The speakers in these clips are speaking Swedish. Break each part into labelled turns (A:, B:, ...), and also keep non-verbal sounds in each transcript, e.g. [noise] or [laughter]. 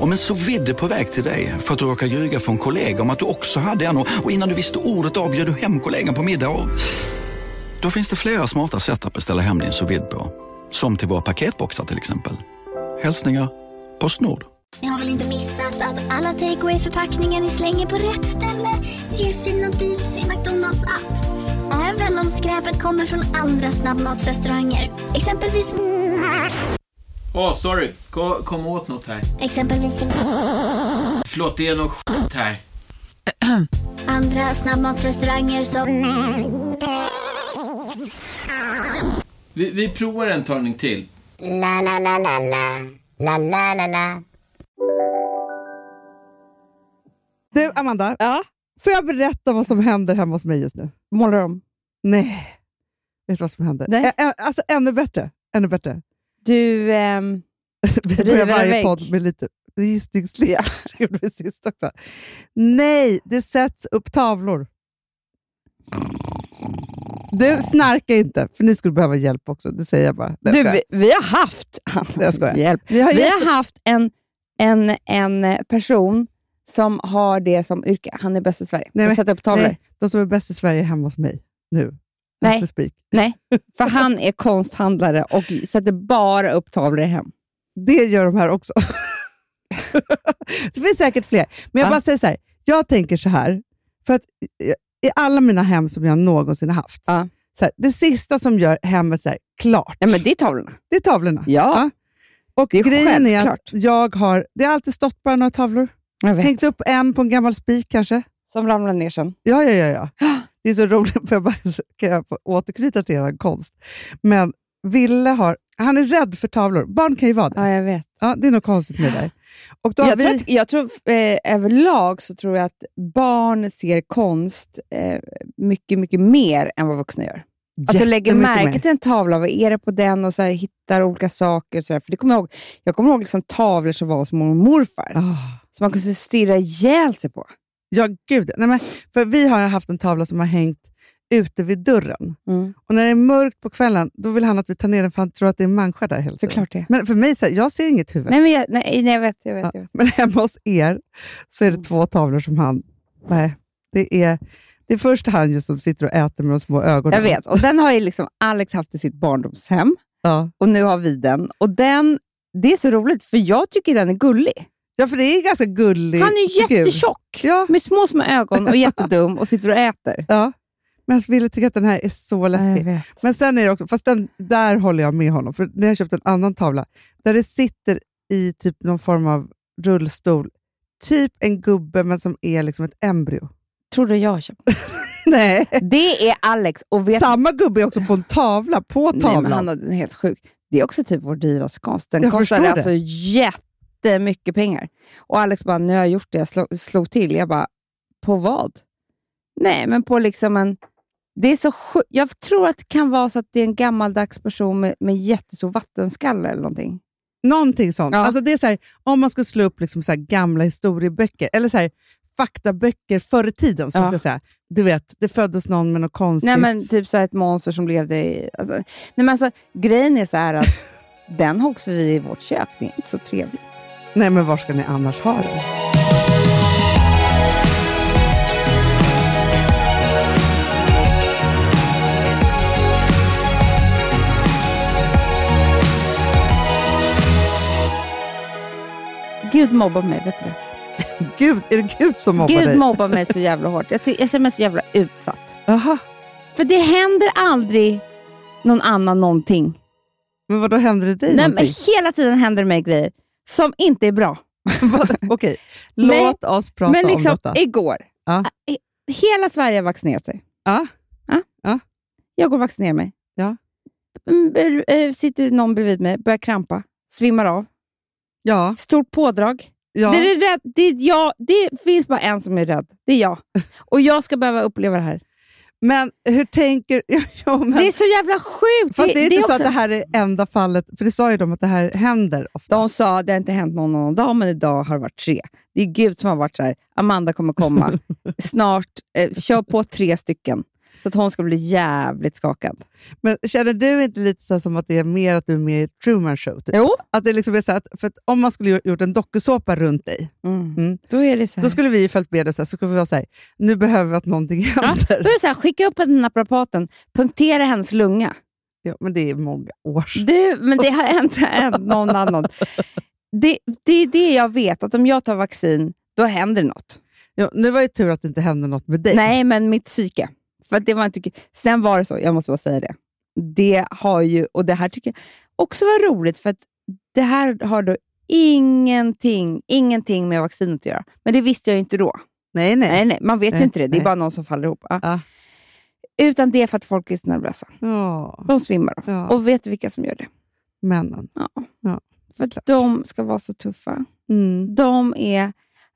A: Om en så vidde på väg till dig för att du råkar ljuga från kollega om att du också hade en och och innan du visste ordet av bjöd du hem kollegan på middag och... Då finns det flera smarta sätt att beställa hem din sous vide på. Som till våra paketboxar till exempel. Hälsningar Postnord.
B: Ni har väl inte missat att alla takeaway förpackningar ni slänger på rätt ställe ger fina deals i McDonalds app. Även om skräpet kommer från andra snabbmatsrestauranger. Exempelvis...
C: Åh, sorry. Kom, kom åt något här.
B: Exempelvis...
C: Förlåt, det är något skit här.
B: Andra snabbmatsrestauranger som...
C: Vi, vi provar en talning till.
D: La la la la la. La la la la.
E: Du, Amanda.
F: Ja.
E: Får jag berätta vad som händer hemma hos mig just nu?
F: Målar de?
E: Nej. Vet du vad som händer?
F: Nej.
E: Ä- ä- alltså, ännu bättre. Ännu bättre. [laughs]
F: Du, ehm,
E: Vi
F: River
E: börjar
F: en
E: varje
F: vägg.
E: podd med lite gissningslek. Det [laughs] gjorde vi sist också. Nej, det sätts upp tavlor. Du, snarka inte, för ni skulle behöva hjälp också. Det säger jag bara. Nej,
F: du
E: jag skojar.
F: vi, vi har haft... [laughs]
E: Jag skojar.
F: Hjälp.
E: Vi har
F: Vi
E: hjälp.
F: har haft en, en, en person som har det som yrke. Han är bäst i Sverige.
E: Nej,
F: Nej,
E: men-
F: sätta upp tavlor.
E: Nej,
F: Nej.
E: de som är bäst i Sverige är hemma hos mig nu.
F: Nej.
E: As we speak.
F: För han är konsthandlare och sätter bara upp tavlor hem.
E: Det gör de här också. [laughs] det finns säkert fler. Men jag
F: Ja.
E: bara säger så här. Jag tänker så här. För att eh, i alla mina hem som jag någonsin har haft,
F: Ja.
E: så här, det sista som gör hemmet så här, klart,
F: Ja, men det är tavlorna.
E: det är tavlorna.
F: Ja,
E: Och
F: det är
E: grejen är att
F: självklart.
E: jag har, det har alltid stått bara några tavlor.
F: jag vet.
E: Hängt upp en på en gammal spik kanske.
F: Som ramlar ner sen.
E: Ja, ja, ja.
F: [gasps]
E: ja. Det är så roligt, för jag bara, kan jag få återknyta till er konst. Men Ville har, han är rädd för tavlor. Barn kan ju vara det.
F: Ja, jag vet.
E: Ja, det är något konstigt med det där. Och då har
F: Jag
E: vi...
F: tror, att, jag tror eh, överlag så tror jag att barn ser konst eh, mycket, mycket mer än vad vuxna gör. Alltså lägger
E: Jättemycket
F: märke
E: mer.
F: till en tavla, vad är det på den och så här, hittar olika saker. och Så här. För det kommer jag, ihåg, jag kommer ihåg liksom tavlor som var hos mormor och morfar,
E: Ah.
F: som man kunde stirra ihjäl sig på.
E: Ja, gud. Nej, men, för vi har haft en tavla som har hängt ute vid dörren.
F: Mm.
E: Och när det är mörkt på kvällen, då vill han att vi tar ner den för han tror att det är en människa där hela tiden.
F: Såklart det.
E: Men för mig, så här, jag ser inget huvud.
F: Nej, men jag, nej, nej, jag vet. Jag vet, jag
E: Ja,
F: vet.
E: men hemma hos er så är det två tavlor som han... Nej, det är, det är först han ju som sitter och äter med de små ögonen.
F: Jag vet. Och den har ju liksom Alex haft i sitt barndomshem
E: Ja.
F: och nu har vi den. Och den, det är så roligt, för jag tycker den är gullig.
E: ja, för det är ganska gullig
F: Han är
E: figur.
F: jättetjock,
E: Ja.
F: med små, små ögon och jättedum och sitter och äter.
E: Ja. Men Ville tycker att den här är så läskig.
F: vet.
E: Men sen är det också, fast den, där håller jag med honom, för när jag köpte en annan tavla, där det sitter i typ någon form av rullstol, typ en gubbe men som är liksom ett embryo.
F: Tror du jag har köpt?
E: [laughs] Nej.
F: Det är Alex och vet
E: Samma gubbe är också på en tavla, på
F: Nej,
E: tavlan.
F: men han har den är helt sjuk. Det är också typ vår dyraste konst. Den
E: Jag
F: kostar
E: förstår det.
F: alltså jättemycket pengar. Och Alex bara, nu har jag gjort det, jag slog, slog till. Jag bara, på vad? Nej, men på liksom en... Det är så sjuk. Jag tror att det kan vara så att det är en gammaldags person med, med jättestor vattenskalle eller någonting.
E: Någonting sånt.
F: Ja.
E: Alltså det är så här, om man skulle slå upp liksom så här gamla historieböcker, eller så här, faktaböcker förr i tiden, så
F: Ja.
E: ska jag säga. du vet, det föddes någon med något konstigt.
F: Nej, men typ så här ett monster som levde i... Alltså, nej, men alltså, grejen är så här
E: [laughs]
F: att den hoggs vi i vårt kök. Det är inte så trevligt.
E: Nej, men var ska ni annars ha den?
F: Gud mobbar mig, vet du det?
E: Gud, är det Gud som mobbar
F: Gud
E: dig?
F: mobbar mig så jävla hårt. Jag, ty- jag känner mig så jävla utsatt.
E: Aha.
F: För det händer aldrig någon annan någonting.
E: Men vad då händer det dig
F: Nej, men
E: någonting?
F: hela tiden händer det mig grejer som inte är bra.
E: [laughs] Vad- Okej, låt oss prata
F: men
E: om
F: liksom,
E: detta.
F: igår.
E: Ja.
F: eh, Hela Sverige har vaccinerat sig.
E: Ja.
F: Jag går och vaccinerar mig.
E: Ja.
F: Mm, ber- eh, Sitter någon bredvid mig, börjar krampa, svimmar av.
E: Ja,
F: Stort pådrag.
E: ja.
F: Det, är rädd, det, är jag, det finns bara en som är rädd. Det är
E: [laughs]
F: jag. Och jag ska behöva uppleva det här.
E: Men hur tänker... [laughs] Jo, men,
F: det är så jävla sjukt!
E: fast det, är inte så
F: också-
E: att det här är enda fallet, för det sa ju de att det här händer ofta.
F: De sa att det har inte hänt någon annan dag, men idag har det varit tre. Det [laughs] är Gud som har varit så här, Amanda kommer komma snart, eh, kör på tre stycken. Så att hon ska bli jävligt skakad.
E: Men känner du inte lite så här som att det är mer att du är med i Truman Show? Typ?
F: Jo.
E: Att det liksom är så här att, för att om man skulle ju- gjort en dokusåpa runt dig,
F: Mm.
E: Mm.
F: Då är det så här.
E: då skulle vi ju följt med dig så, här, så skulle vi vara så här, nu behöver vi att någonting
F: ja, då
E: händer.
F: är det så här, skicka upp den naprapaten, punktera hennes lunga.
E: Ja, men det är många år sedan.
F: Du, men det har inte hänt någon annan. [laughs] Det, det är det jag vet, att om jag tar vaccin, då händer något.
E: Ja, nu var ju tur att det inte hände något med dig.
F: Nej, men mitt psyke. För att det var inte, kul. sen var det så, jag måste bara säga det. Det har ju, och det här tycker jag också var roligt, för att det här har då ingenting, ingenting med vaccinet att göra. Men det visste jag ju inte då.
E: nej.
F: Nej, nej, man vet
E: Nej,
F: ju inte det. Det är
E: nej.
F: bara någon som faller ihop. Ja.
E: Ja.
F: Utan det är för att folk är så nervösa.
E: Ja,
F: De svimmar av.
E: Ja.
F: Och vet du vilka som gör det?
E: männen.
F: För att de ska vara så tuffa.
E: Mm, [laughs]
F: De är...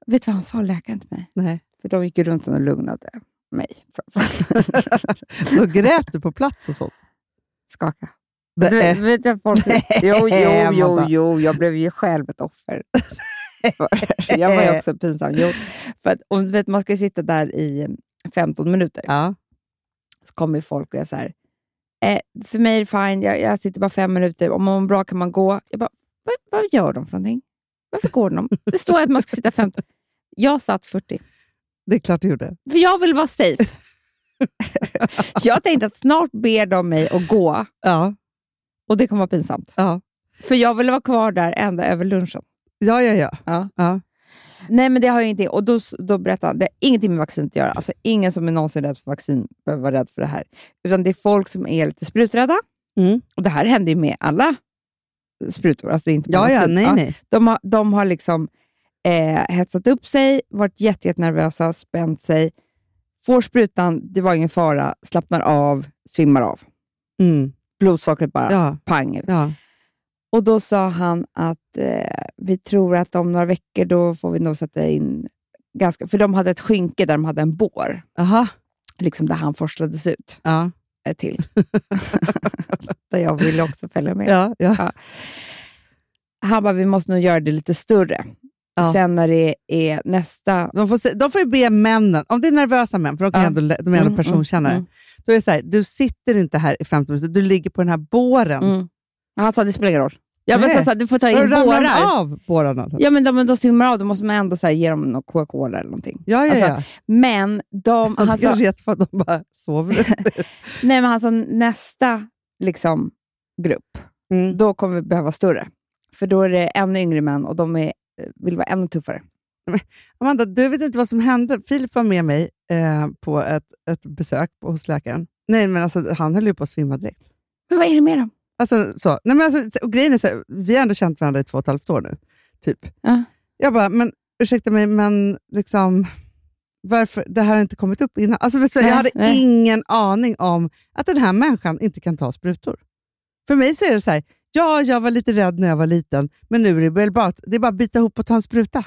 F: Vet du vad han sa, läkaren till mig?
E: nej.
F: För de gick ju runt och lugnade mig.
E: Då grät du på plats och sånt.
F: [laughs] Skaka.
E: Nej.
F: Du, vet jag, folk,
E: [laughs]
F: jo, jo, jo,
E: eh. Amanda.
F: jo, jag blev ju själv ett offer. För- [laughs] jag var ju också pinsam. Jo, för att, och, du vet, man ska ju sitta där i 15 minuter.
E: Ja.
F: Så kommer ju folk och jag så här, eh, för mig är det fine, jag, jag sitter bara fem minuter, om man mår bra kan man gå. Jag bara, vad, vad gör de för någonting? Varför går de? Det står att man ska sitta 15. Jag satt 40.
E: Det är klart du gjorde.
F: För jag vill vara safe. [laughs] jag tänkte att snart ber de mig att gå
E: Ja,
F: och det kommer vara pinsamt.
E: ja.
F: För jag ville vara kvar där ända över lunchen.
E: Ja, ja, ja.
F: Ja.
E: ja.
F: Nej, men det har ju ingenting. Och då, då berättade han, det har ingenting med vaccin att göra. Alltså ingen som är någonsin rädd för vaccin behöver vara rädd för det här. Utan det är folk som är lite spruträdda.
E: Mm.
F: Och det här händer ju med alla sprutor. Alltså det är inte bara
E: Ja, ja,
F: vaccin.
E: nej, nej.
F: De har, de har liksom eh, hetsat upp sig, varit jätte- jättenervösa, spänt sig. Får sprutan, det var ingen fara, slappnar av, svimmar av.
E: Mm.
F: Blodsockret bara
E: Ja,
F: pang.
E: ja.
F: Och då sa han att eh, vi tror att om några veckor då får vi nog sätta in ganska... För de hade ett skynke där de hade en bår,
E: Aha.
F: liksom där han forslades ut
E: Ja,
F: eh,
E: [laughs]
F: till. där jag ville också följa med.
E: ja, ja.
F: Han bara, vi måste nog göra det lite större.
E: Ja. Mm.
F: Sen när det är nästa...
E: De, får se, de får ju be männen, om det är nervösa män, för de, kan
F: Ja.
E: ändå, lä- de är ändå
F: Mm,
E: personkännare,
F: mm,
E: då är det så här, du sitter inte här i 15 minuter, du ligger på den här båren.
F: Mm. Han sa, det spelar ingen roll. Jag bara,
E: Nej.
F: så, så, du får ta
E: Då
F: in
E: ramlar de
F: bårar.
E: av bårarna. Ja,
F: Ja, men de, de simmar av, då måste man ändå så här, ge dem någon Coca-Cola eller någonting.
E: ja, ja.
F: Alltså, Men de...
E: det
F: Han sa,
E: kanske är jättefint att de bara sover.
F: [laughs] Nej, men alltså nästa liksom, grupp,
E: Mm.
F: då kommer vi behöva större. För då är det ännu yngre män och de är, eh, vill vara ännu tuffare.
E: Amanda, du vet inte vad som hände. Filip var med mig eh, på ett, ett besök på- hos läkaren. Nej, men alltså, han höll ju på att svimma direkt.
F: Men vad är det med dem?
E: Alltså, så. Nej, men alltså, och grejen är så här, vi har ändå känt varandra i två och ett halvt år nu. Typ.
F: Ja.
E: Jag bara, men ursäkta mig, men liksom, varför det här har inte kommit upp innan? Alltså, vet du,
F: Nej,
E: jag hade
F: nej.
E: ingen aning om att den här människan inte kan ta sprutor. För mig så är det så här, ja, jag var lite rädd när jag var liten, men nu är det väl bara, att- det är bara att bita ihop och ta en spruta.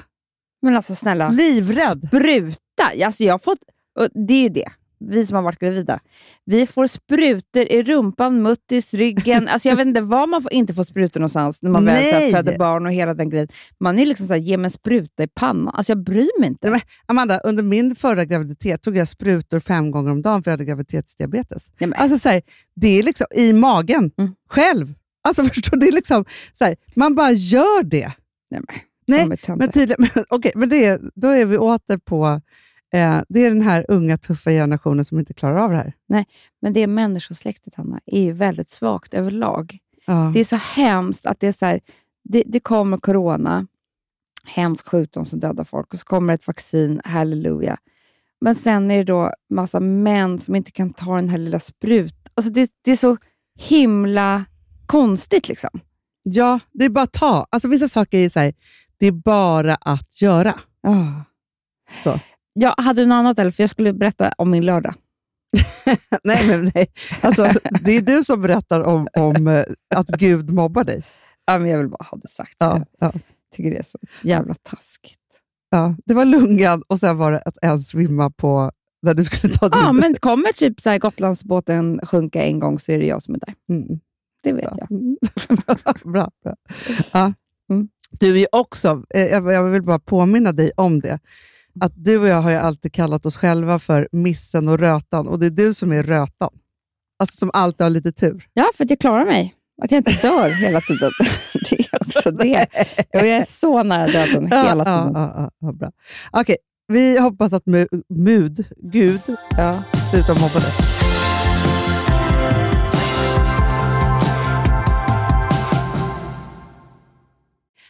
F: Men alltså snälla,
E: Livrädd!
F: spruta! Alltså, jag har fått, och det är ju det, vi som har varit gravida. Vi får sprutor i rumpan, muttis, ryggen. Alltså, jag vet inte var man får, inte får sprutor någonstans när man väl så här
E: Nej.
F: föder barn och hela den grejen. Man är ju liksom såhär, ge mig en spruta i pannan. Alltså, jag bryr mig inte.
E: Nej, men Amanda, under min förra graviditet tog jag sprutor fem gånger om dagen för jag hade graviditetsdiabetes.
F: Nej, men-
E: Alltså, så här, det är liksom i magen,
F: Mm.
E: själv. Alltså, [laughs] förstår du? Det är liksom, så här, man bara gör det.
F: Nej, men,
E: Nej,
F: de är töntar.
E: Men tydligen, [laughs] men, okej, men det, är- då är vi åter på, eh, det är den här unga tuffa generationen som inte klarar av det här.
F: Men det människosläktet, Hanna, är ju väldigt svagt överlag.
E: Ja.
F: Det är så hemskt att det är så här, det, det kommer corona, hemsk sjukdom som dödar folk, och så kommer ett vaccin, halleluja. Men sen är det då massa män som inte kan ta den här lilla sprutan. Alltså det, det är så himla konstigt liksom.
E: ja, det är bara att ta. Alltså, vissa saker är så här, det är bara att göra.
F: Ah.
E: Så. [laughs]
F: Jag hade en annat eller för jag skulle berätta om min lördag.
E: nej, men nej. Alltså, det är du som berättar om, om eh, att Gud mobbar dig.
F: Ja, men jag vill bara ha det sagt.
E: Ja,
F: Jag
E: ja.
F: tycker det är så jävla taskigt.
E: Ja, det var lungan och sen var det att en svimma på när du skulle ta
F: Ja,
E: din...
F: men kommer typ så här Gotlandsbåten sjunka en gång så är det jag som är där.
E: Mm,
F: Det vet
E: bra.
F: jag.
E: bra, bra. Ja.
F: Mm.
E: Du är ju också, eh, jag jag vill bara påminna dig om det, att du och jag har ju alltid kallat oss själva för missen och rötan och det är du som är rötan. Alltså som alltid har lite tur.
F: Ja, för att jag klarar mig. Att jag inte dör hela tiden. [laughs] Det är också det. Och jag är så nära döden hela
E: Ja,
F: tiden.
E: ja, ja, ja, bra. Okej, vi hoppas att mu- Mud, Gud,
F: Ja.
E: slutar mobba dig.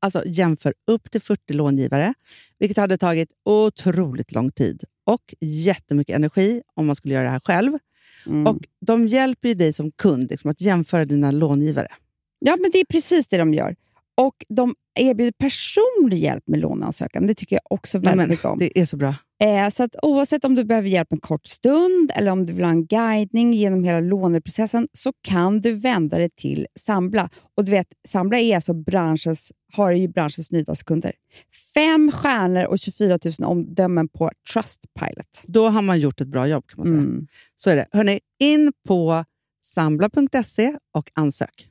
G: alltså, jämför upp till 40 långivare, vilket hade tagit otroligt lång tid och jättemycket energi om man skulle göra det här själv.
F: Mm.
G: Och De hjälper ju dig som kund liksom, att jämföra dina långivare.
F: Ja, men det är precis det de gör. Och de erbjuder personlig hjälp med låneansökan. Det tycker jag också väldigt
G: Men,
F: mycket om.
G: det är så bra.
F: Eh, så att oavsett om du behöver hjälp en kort stund eller om du vill ha en guidning genom hela låneprocessen så kan du vända dig till Sambla. Och du vet, Sambla är alltså branschens, har ju branschens nyaste kunder. Fem stjärnor och 24 000 omdömen på Trustpilot.
G: Då har man gjort ett bra jobb. kan man säga.
F: Mm.
G: Så är det. Hörrni, in på sambla.se E och ansök.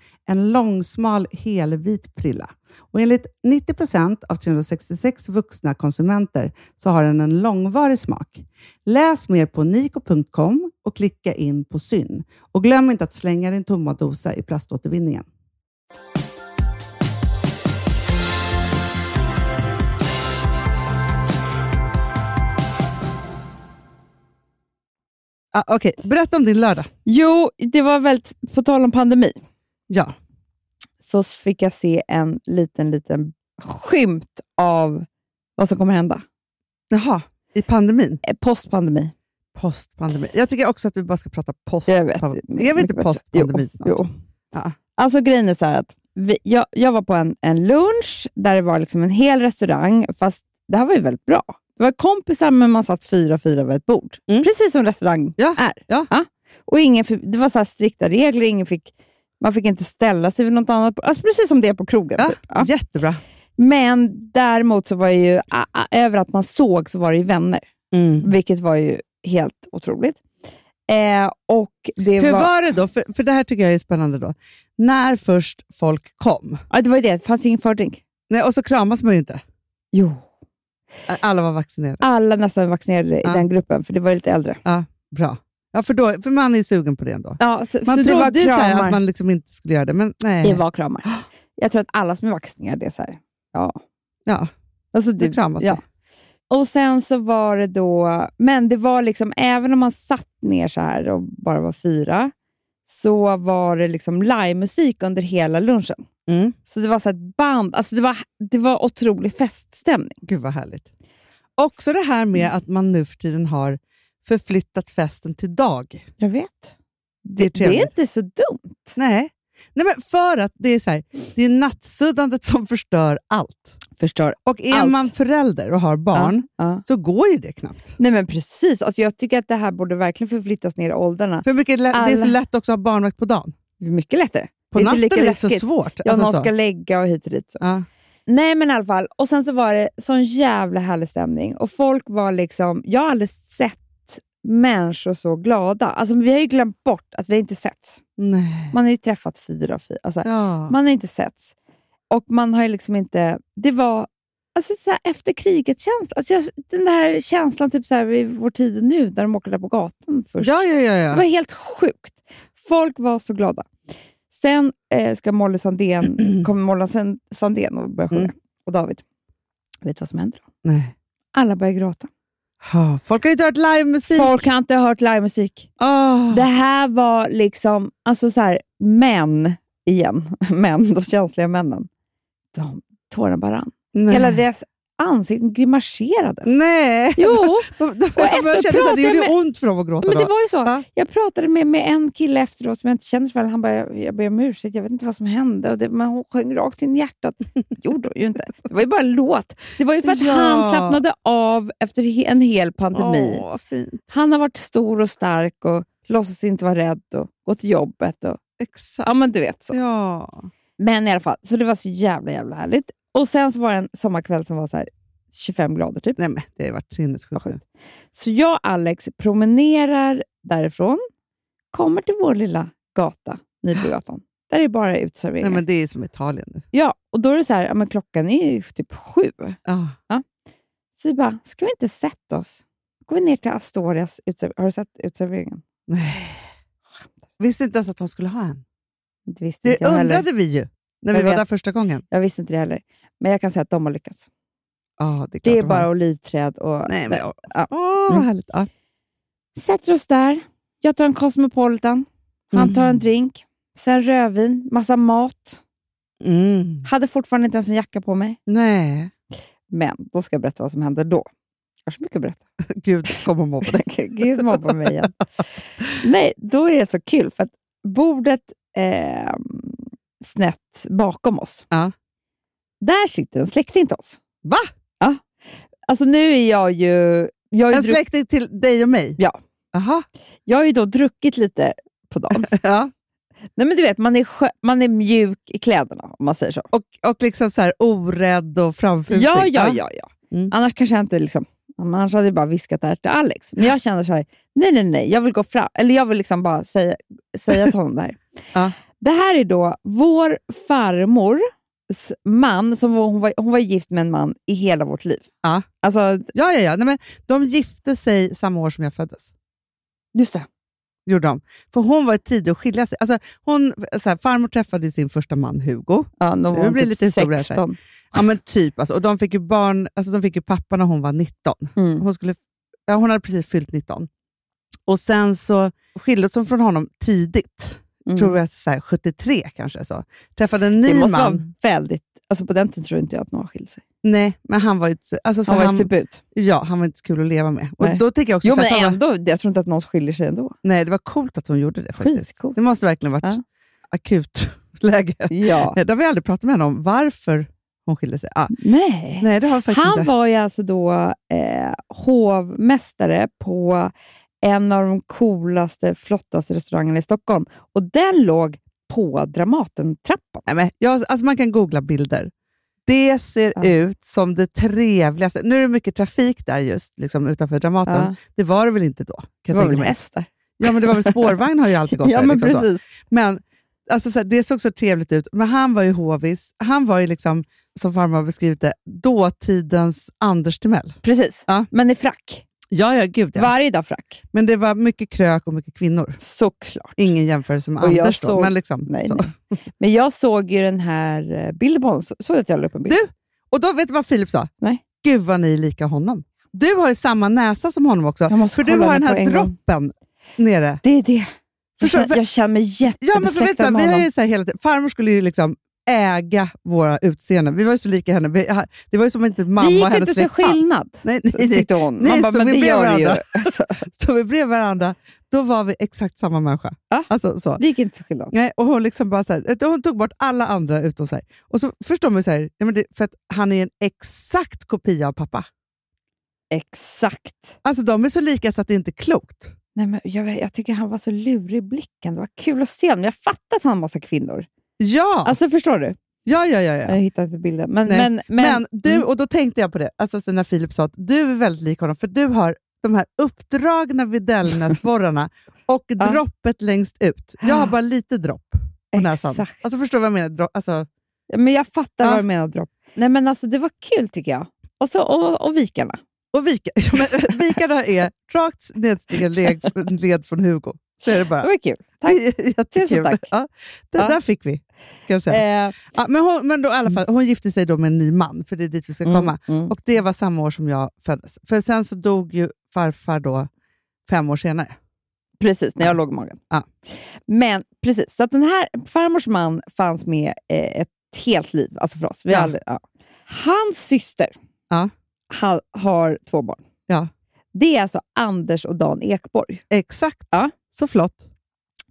G: En långsmal helvit prilla. Och enligt 90 procent av 366 vuxna konsumenter så har den en långvarig smak. Läs mer på niko.com och klicka in på Syn. Och glöm inte att slänga din tomma dosa i plaståtervinningen.
E: Ah, Okej, berätta om din lördag.
F: Jo, det var väldigt, på tal om pandemi,
E: Ja.
F: så fick jag se en liten, liten skymt av vad som kommer hända.
E: Jaha, i pandemin?
F: Eh, Postpandemi.
E: Postpandemi. Jag tycker också att vi bara ska prata post.
F: Jag vet.
E: Är vi inte postpandemi snart?
F: Jo.
E: Ja.
F: Alltså grejen är så här att vi, jag, jag var på en, en lunch där det var liksom en hel restaurang, fast det här var ju väldigt bra. Det var kompisar, men man satt fyra fyra vid ett bord.
G: Mm.
F: Precis som restaurang
E: Ja,
F: är.
E: ja.
F: Och ingen, fick- det var så här strikta regler, ingen fick, man fick inte ställa sig vid något annat bord. alltså Precis som det är på krogen.
E: Ja,
F: Typ. Ja.
E: Jättebra.
F: Men däremot så var det ju, a, a, över att man såg så var det ju vänner,
E: Mm.
F: vilket var ju helt otroligt. Eh, och det
E: Hur
F: var,
E: var det då? För, för det här tycker jag är spännande. då. När först folk kom,
F: Ja, det var ju det, det fanns ingen fördrink.
E: Nej, och så kramas man ju inte.
F: Jo.
E: Alla var vaccinerade.
F: alla nästan vaccinerade i
E: Ja.
F: den gruppen, för det var ju lite äldre.
E: Bra. Ja, för, då, för man är ju sugen på det ändå.
F: Ja, så,
E: Man
F: så det var
E: trodde ju så
F: kramar.
E: här att man liksom inte skulle göra det, men nej.
F: Det var kramar. Jag tror att alla som är vaccinerade är så här. Ja.
E: Ja,
F: Alltså,
E: det kramas.
F: ja.
E: Ja.
F: Och sen så var det då, men det var liksom, även om man satt ner så här och bara var fyra, så var det liksom livemusik under hela lunchen.
E: Mm.
F: Så det var så här ett band, alltså det var, det var otrolig feststämning.
E: Gud vad härligt. Också det här med att man nu för tiden har förflyttat festen till dag.
F: Jag vet.
E: Det är
F: Det
E: trevligt.
F: är inte så dumt.
E: Nej. Nej, men för att det är så här, det är nattsuddandet som förstör allt.
F: Förstör
E: Och är
F: Allt.
E: man förälder och har barn
F: Ja.
E: så går ju det knappt.
F: Nej men precis. Alltså, jag tycker att det här borde verkligen förflyttas ner i åldrarna.
E: För mycket lä- det är så
F: Alla-
E: lätt också att ha barnvakt på dagen.
F: Det är mycket lättare.
E: På
F: det är
E: natten
F: inte
E: är
F: lika
E: det så
F: läskigt.
E: svårt.
F: Ja,
E: Alltså
F: någon
E: så.
F: ska lägga och hit och dit. Så.
E: Ja.
F: Nej men i alla fall. Och sen så var det sån jävla härlig stämning. Och folk var liksom, jag har aldrig sett människor så glada. Alltså vi har ju glömt bort att vi inte setts.
E: Nej.
F: Man har ju träffat fyra och fyra. Alltså,
E: Ja.
F: Man har inte setts. Och man har ju liksom inte... Det var alltså, så här, efter kriget-känsla. Alltså, jag- den där känslan typ så här, vid vår tid nu, när de åker där på gatan först.
E: ja, ja, ja.
F: Det
E: ja.
F: var helt sjukt. Folk var så glada. Sen eh, ska Molly Sandén, [clears throat] kommer Molly San- Mm. Sandén och börja sjunga. Och David. Vet du vad som händer då?
E: Nej.
F: Alla börjar gråta.
E: Ha, Folk har ju inte hört livemusik.
F: Folk har inte hört livemusik.
E: Ah.
F: Det här var liksom, alltså så här, män igen. [laughs] Män, de känsliga männen. De, tårarna bara rann.
E: Nej.
F: Hela deras ansikten grimaserades.
E: Nej.
F: Mm. Jo,
E: [laughs] De, de,
F: efter
E: jag kände så att det
F: pratade
E: gjorde
F: med-
E: ont för dem att gråta
F: men det
E: då.
F: var ju så.
E: Ja.
F: Jag pratade med, med en kille efteråt som jag inte känner så väl. Han bara, jag, jag ber om ursäkt, jag vet inte vad som hände. Och det, men hon sjöng rakt in i hjärtat. [laughs] Det gjorde hon ju inte. Det var ju bara en låt. Det var ju för att
E: Ja.
F: han slappnade av efter he- en hel pandemi.
E: Åh, vad fint.
F: Han har varit stor och stark och låtsas inte vara rädd och gått till jobbet. Och, ja,
E: Exakt.
F: men du vet så.
E: Ja.
F: Men i alla fall, så det var så jävla, jävla härligt. Och sen så var det en sommarkväll som var så här 25 grader typ.
E: Nej, men det har ju varit sinnessjukt nu.
F: Så jag och Alex promenerar därifrån, kommer till vår lilla gata, Nybrogatan. Där är bara
E: Nej,
F: uteserveringar.
E: men det är som Italien nu.
F: Ja, och då är det så här, ja, men klockan är ju typ sju.
E: Ja.
F: Så vi bara, ska vi inte sätta oss? Går vi ner till Astorias uteservering. Har du sett uteserveringen?
E: Nej. Visste inte ens att de skulle ha en.
F: Det visste
E: Det
F: inte jag heller.
E: undrade vi ju när vi
F: Jag
E: var
F: vet.
E: där första gången.
F: Jag visste inte det heller. Men jag kan säga att de har lyckats.
E: Ja, det är, klart
F: Det är
E: de har.
F: bara olivträd och...
E: Nej, men... Åh,
F: Ja. Mm.
E: vad härligt. Ja.
F: Sätter oss där. Jag tar en Cosmopolitan. Han tar en
E: Mm.
F: drink. Sen rödvin, massa mat.
E: Mm.
F: Hade fortfarande inte ens en jacka på mig.
E: Nej.
F: Men då ska jag berätta vad som hände då. Jag har så mycket att berätta.
E: Gud kommer mobba dig. [laughs]
F: Gud mobbar mig igen. Nej, då är det så kul för att bordet eh, snett bakom oss,
E: Ja.
F: där sitter en släkting till oss.
E: Va?
F: Ja. Alltså nu är jag ju... Jag har ju,
E: En
F: druck,
E: släkting till dig och mig?
F: Ja.
E: Aha.
F: jag har ju då druckit lite på
E: [laughs]
F: dagen.
E: Ja.
F: Nej, men du vet, man är, skö- man är mjuk i kläderna om man säger så.
E: Och, och liksom så här orädd och framfusig?
F: Ja, ja, ja. ja.
E: Mm.
F: Annars kanske jag inte liksom, annars hade jag bara viskat det här till Alex. Men jag känner så här, nej, nej, nej, jag vill gå fram. Eller jag vill liksom bara säga, säga till honom det här.
E: Ja.
F: Det här är då vår farmors man, som var, hon, var, hon var gift med en man i hela vårt liv.
E: Ja.
F: Alltså,
E: ja, ja, ja. Nej, men de gifte sig samma år som jag föddes.
F: just det.
E: Gjorde de. För hon var tidig att skilja sig. Alltså, hon, så här, farmor träffade ju sin första man Hugo.
F: Ja, då var
E: Det
F: hon
E: blir
F: typ
E: lite historia här.
F: 16.
E: Ja, men typ. Alltså. Och de fick ju barn, alltså, de fick ju pappa när hon var 19.
F: Mm.
E: Hon, skulle, ja, hon hade precis fyllt 19. Och sen så skildes hon från honom tidigt.
F: Mm.
E: Tror jag så här, 73 kanske. Så. Träffade en ny
F: Det
E: man.
F: måste vara väldigt, alltså på den tiden tror inte jag att någon skilde sig.
E: Nej, men han var ju inte- alltså, så
F: Han var
E: han,
F: ju suput.
E: ja, han var inte så kul att leva med. Och
F: Nej.
E: då tänker jag också
F: Jo,
E: så här,
F: men
E: fan vad-
F: ändå, jag tror inte att någon skiljer sig ändå.
E: Nej, det var coolt att hon gjorde det faktiskt.
F: Skitcoolt.
E: Det måste verkligen varit
F: Ja.
E: akut [laughs] läge.
F: Ja.
E: Det har vi aldrig pratat med henne om, varför hon skilde sig. Ah,
F: Nej.
E: nej, det har vi faktiskt
F: Han
E: inte.
F: var ju alltså då eh, hovmästare på en av de coolaste, flottaste restaurangerna i Stockholm. Och den låg på Dramaten-trappan.
E: Nej, men jag, alltså man kan googla bilder. Det ser
F: Ja.
E: ut som det trevligaste. Nu är det mycket trafik där just, liksom utanför Dramaten.
F: Ja,
E: Det var det väl inte då? Kan
F: det
E: jag
F: var
E: tänka
F: väl
E: mig.
F: hästar?
E: Ja, men det var väl spårvagn har ju alltid
F: [laughs]
E: gått
F: Ja,
E: där.
F: men
E: liksom så.
F: precis.
E: Men alltså, så här, det såg så trevligt ut. Men han var ju hovis. Han var ju liksom, som farmor har beskrivit det, dåtidens Anders Timell.
F: precis.
E: Ja.
F: Men i frack.
E: Ja, ja, gud ja.
F: Varje dag frack.
E: Men det var mycket krök och mycket kvinnor.
F: Såklart.
E: Ingen jämförelse med
F: Och jag
E: Anders då,
F: såg-
E: men liksom.
F: Nej,
E: så.
F: nej. Men jag såg ju den här eh, bilden på honom. Så- Såg du att jag la upp en bild?
E: Du- Och då vet du vad Filip sa?
F: Nej.
E: Gud vad ni är lika honom. Du har ju samma näsa som honom också.
F: Jag måste
E: För du
F: kolla
E: har den
F: på
E: här
F: en gång.
E: droppen nere.
F: Det är det. Jag
E: Förstår-
F: känner,
E: för-
F: jag känner mig
E: Ja, men för vet du,
F: jättebesläktad
E: så här,
F: med
E: vi har
F: honom.
E: ju så här hela tiden, farmor skulle ju liksom äga våra utseenden. Vi var ju så lika henne. Vi, det var ju som inte mamma
F: Det
E: och
F: gick
E: hennes
F: inte så
E: släkt fanns.
F: skillnad,
E: Nej, nej, nej.
F: tyckte hon.
E: Nej,
F: Man bara,
E: så
F: men
E: vi
F: det
E: blev
F: gör det ju.
E: varandra. Stod vi bredvid varandra, då var vi exakt samma människa.
F: Ja.
E: Alltså, så.
F: Det gick inte så skillnad.
E: Nej, och hon, liksom bara så här, hon tog bort alla andra utom sig. Och så förstår man ju så här, nej, men det, för att han är en exakt kopia av pappa.
F: Exakt.
E: Alltså de är så lika så att det inte är klokt.
F: Nej, men jag, vet- jag tycker han var så lurig i blicken. Det var kul att se honom. Jag fattar att han har massa kvinnor.
E: Ja,
F: Alltså förstår du?
E: ja, ja, ja. ja.
F: Jag hittar inte bilden. Men,
E: Nej.
F: men, men,
E: Men, du,
F: Mm.
E: och då tänkte jag på det, alltså så när Filip sa att du är väldigt lik honom, för du har de här
F: [laughs]
E: uppdragna Widellnäsborrarna och
F: Ja.
E: droppet längst ut. Jag
F: [gasps]
E: har bara lite dropp på näsan.
F: Exakt.
E: Alltså förstår du vad jag menar? Dro- alltså,
F: men jag fattar
E: Ja.
F: vad du menar dropp. Nej men alltså det var kul tycker jag. Och, så, och, och vikarna.
E: och vika, [laughs] ja, men, vikarna är rakt
F: [laughs]
E: nedstigen led, led från Hugo. Så är det
F: Det
E: bara.
F: var kul. Tack.
E: Det är [laughs] jättekul.
F: Tusen tack.
E: Ja, det
F: Ja.
E: där fick vi. Kan jag säga.
F: Eh,
E: Ja, men hon, men då, i alla fall, hon gifte sig då med en ny man, för det är dit vi ska komma.
F: mm.
E: Och det var samma år som jag föddes. För sen så dog ju farfar då fem år senare.
F: Precis, när jag låg i magen.
E: Ja.
F: Men precis, så att den här farmors man fanns med eh, ett helt liv, alltså för oss. Vi
E: Ja.
F: ja. Aldrig, ja. Hans syster
E: Ja.
F: ha, har två barn.
E: Ja.
F: Det är alltså Anders och Dan Ekborg.
E: Exakt.
F: Ja.
E: Så flott.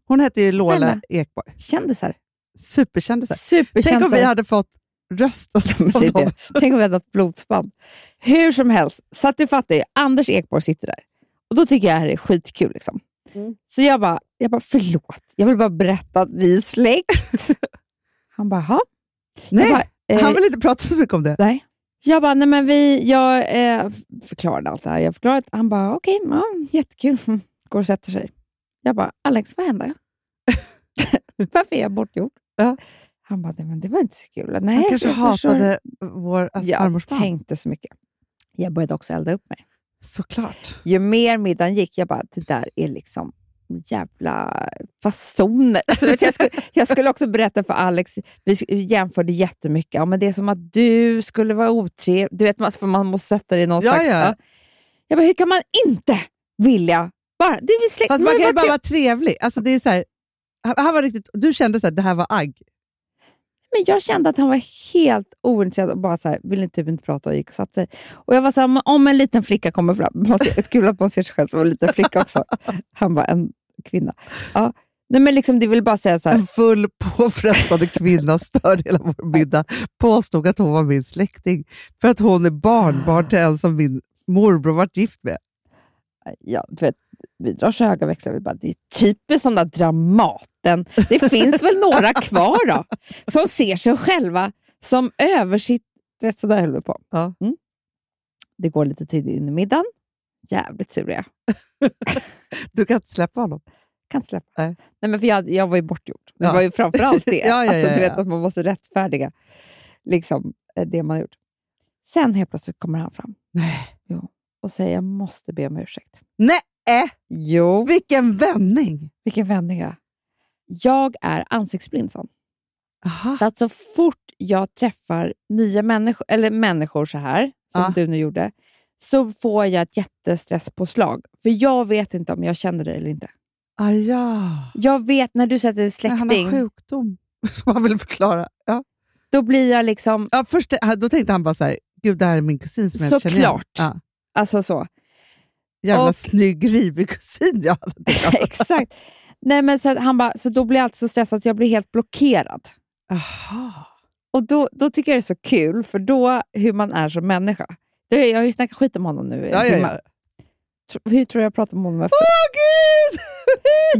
E: Hon hette ju Lola
F: Snälla.
E: Ekborg.
F: Kändisar.
E: Superkändisar. Alltså, Tänk om
F: [laughs]
E: vi
F: Superkändisar.
E: hade fått
F: [laughs]
E: röstat
F: Det
E: om
F: är
E: dem.
F: det. Tänk om vi hade haft blodsband. Hur som helst, så att du fattar ju, Anders Ekborg sitter där. Och då tycker jag det här är skitkul. Liksom.
E: Mm.
F: Så jag bara, jag bara, förlåt, jag vill bara berätta att vi är
E: [laughs]
F: släkt. Han bara, "Jaha."
E: Nej,
F: jag bara, eh,
E: han vill inte prata så mycket om det.
F: Nej. Jag bara, nej men vi, jag eh, förklarade allt det här. Jag förklarade, han bara, okej, ja, jättekul. [laughs] Går och sätter sig. Jag bara, Alex, vad hände? [laughs] Varför är jag bortgjord?
E: Ja.
F: Han bara, nej men det var inte så kul. Nej,
E: Han kanske
F: jag förstår.
E: hatade vår alltså,
F: Jag
E: farmors man.
F: tänkte så mycket. Jag började också elda upp mig.
E: Såklart.
F: Ju mer middagen gick, jag bara, det där är liksom jävla fasoner. Alltså, vet, du, jag, skulle, jag skulle också berätta för Alex, vi sk- jämförde jättemycket. Ja, men det är som att du skulle vara otrevlig. Du vet, man- för man måste sätta det i någon
E: Ja,
F: slags...
E: ja.
F: Jag bara, hur kan man inte vilja... Bara, det är väl släkt.
E: Fast
F: man
E: man
F: vill
E: kan ju
F: bara
E: bara
F: tre-
E: vara trevlig. Alltså, det är så här, han, han var riktigt, du kände att det här var agg.
F: Men jag kände att han var helt ointresserad och bara så här, ville typ inte prata och gick och satte sig. Och jag var så här, "Men om en liten flicka kommer fram. Man ser, det är kul att man ser sig själv som en liten flicka också. Han var en kvinna. Ja. Nej, men liksom, det vill bara säga så här,
E: En full påfrestande kvinna störde hela vår middag. Påstod att hon var min släkting för att hon är barnbarn till en som min morbror varit gift med.
F: ja, du vet, vi drar så höga växlar. Vi bara, det är typiskt sådana Dramaten. Det finns väl några kvar då, som ser sig själva som översitt... Du vet, sådär höll vi på.
E: Ja.
F: Mm. Det går lite tid in i middagen. Jävligt sur är jag.
E: Du kan inte släppa honom.
F: kan inte släppa.
E: Nej.
F: Nej. men för jag, jag var ju bortgjord. Det
E: Ja.
F: var ju
E: [laughs]
F: framförallt det.
E: Ja, ja, ja,
F: alltså, du
E: ja.
F: vet att man måste rättfärdiga liksom, eh, det man har gjort. Sen helt plötsligt kommer han fram
E: Nej.
F: och säger jag måste be om ursäkt.
E: Nej, äh,
F: Jo.
E: vilken vändning!
F: Vilken vändning jag Jag är ansiktsblind, sa han.
E: Aha.
F: Så att så fort jag träffar nya människor, eller människor så här, som
E: Ja.
F: du nu gjorde, så får jag ett jättestresspåslag. För jag vet inte om jag känner dig eller inte.
E: Ah, ja.
F: Jag vet när du säger att du är
E: Nej, Han har
F: släkting,
E: sjukdom [laughs] som han vill förklara. Ja.
F: då blir jag liksom
E: Ja, först, eh, då tänkte han bara så här, gud det här är min kusin som jag inte känner igen.
F: Såklart.
E: Ja.
F: Alltså så.
E: Jävla
F: Och-
E: snygg, rivig kusin jag hade.
F: [laughs] Exakt. Nej, men så, att han bara, så då blir jag alltid så stressad att jag blir helt blockerad.
E: Aha.
F: Och då, då tycker jag det är så kul, för då hur man är som människa. Det, jag har ju snackat skit om honom nu. i en
E: Ja, ja,
F: timme.
E: ja.
F: Tr- Hur tror jag pratar om honom efter?
E: Åh gud!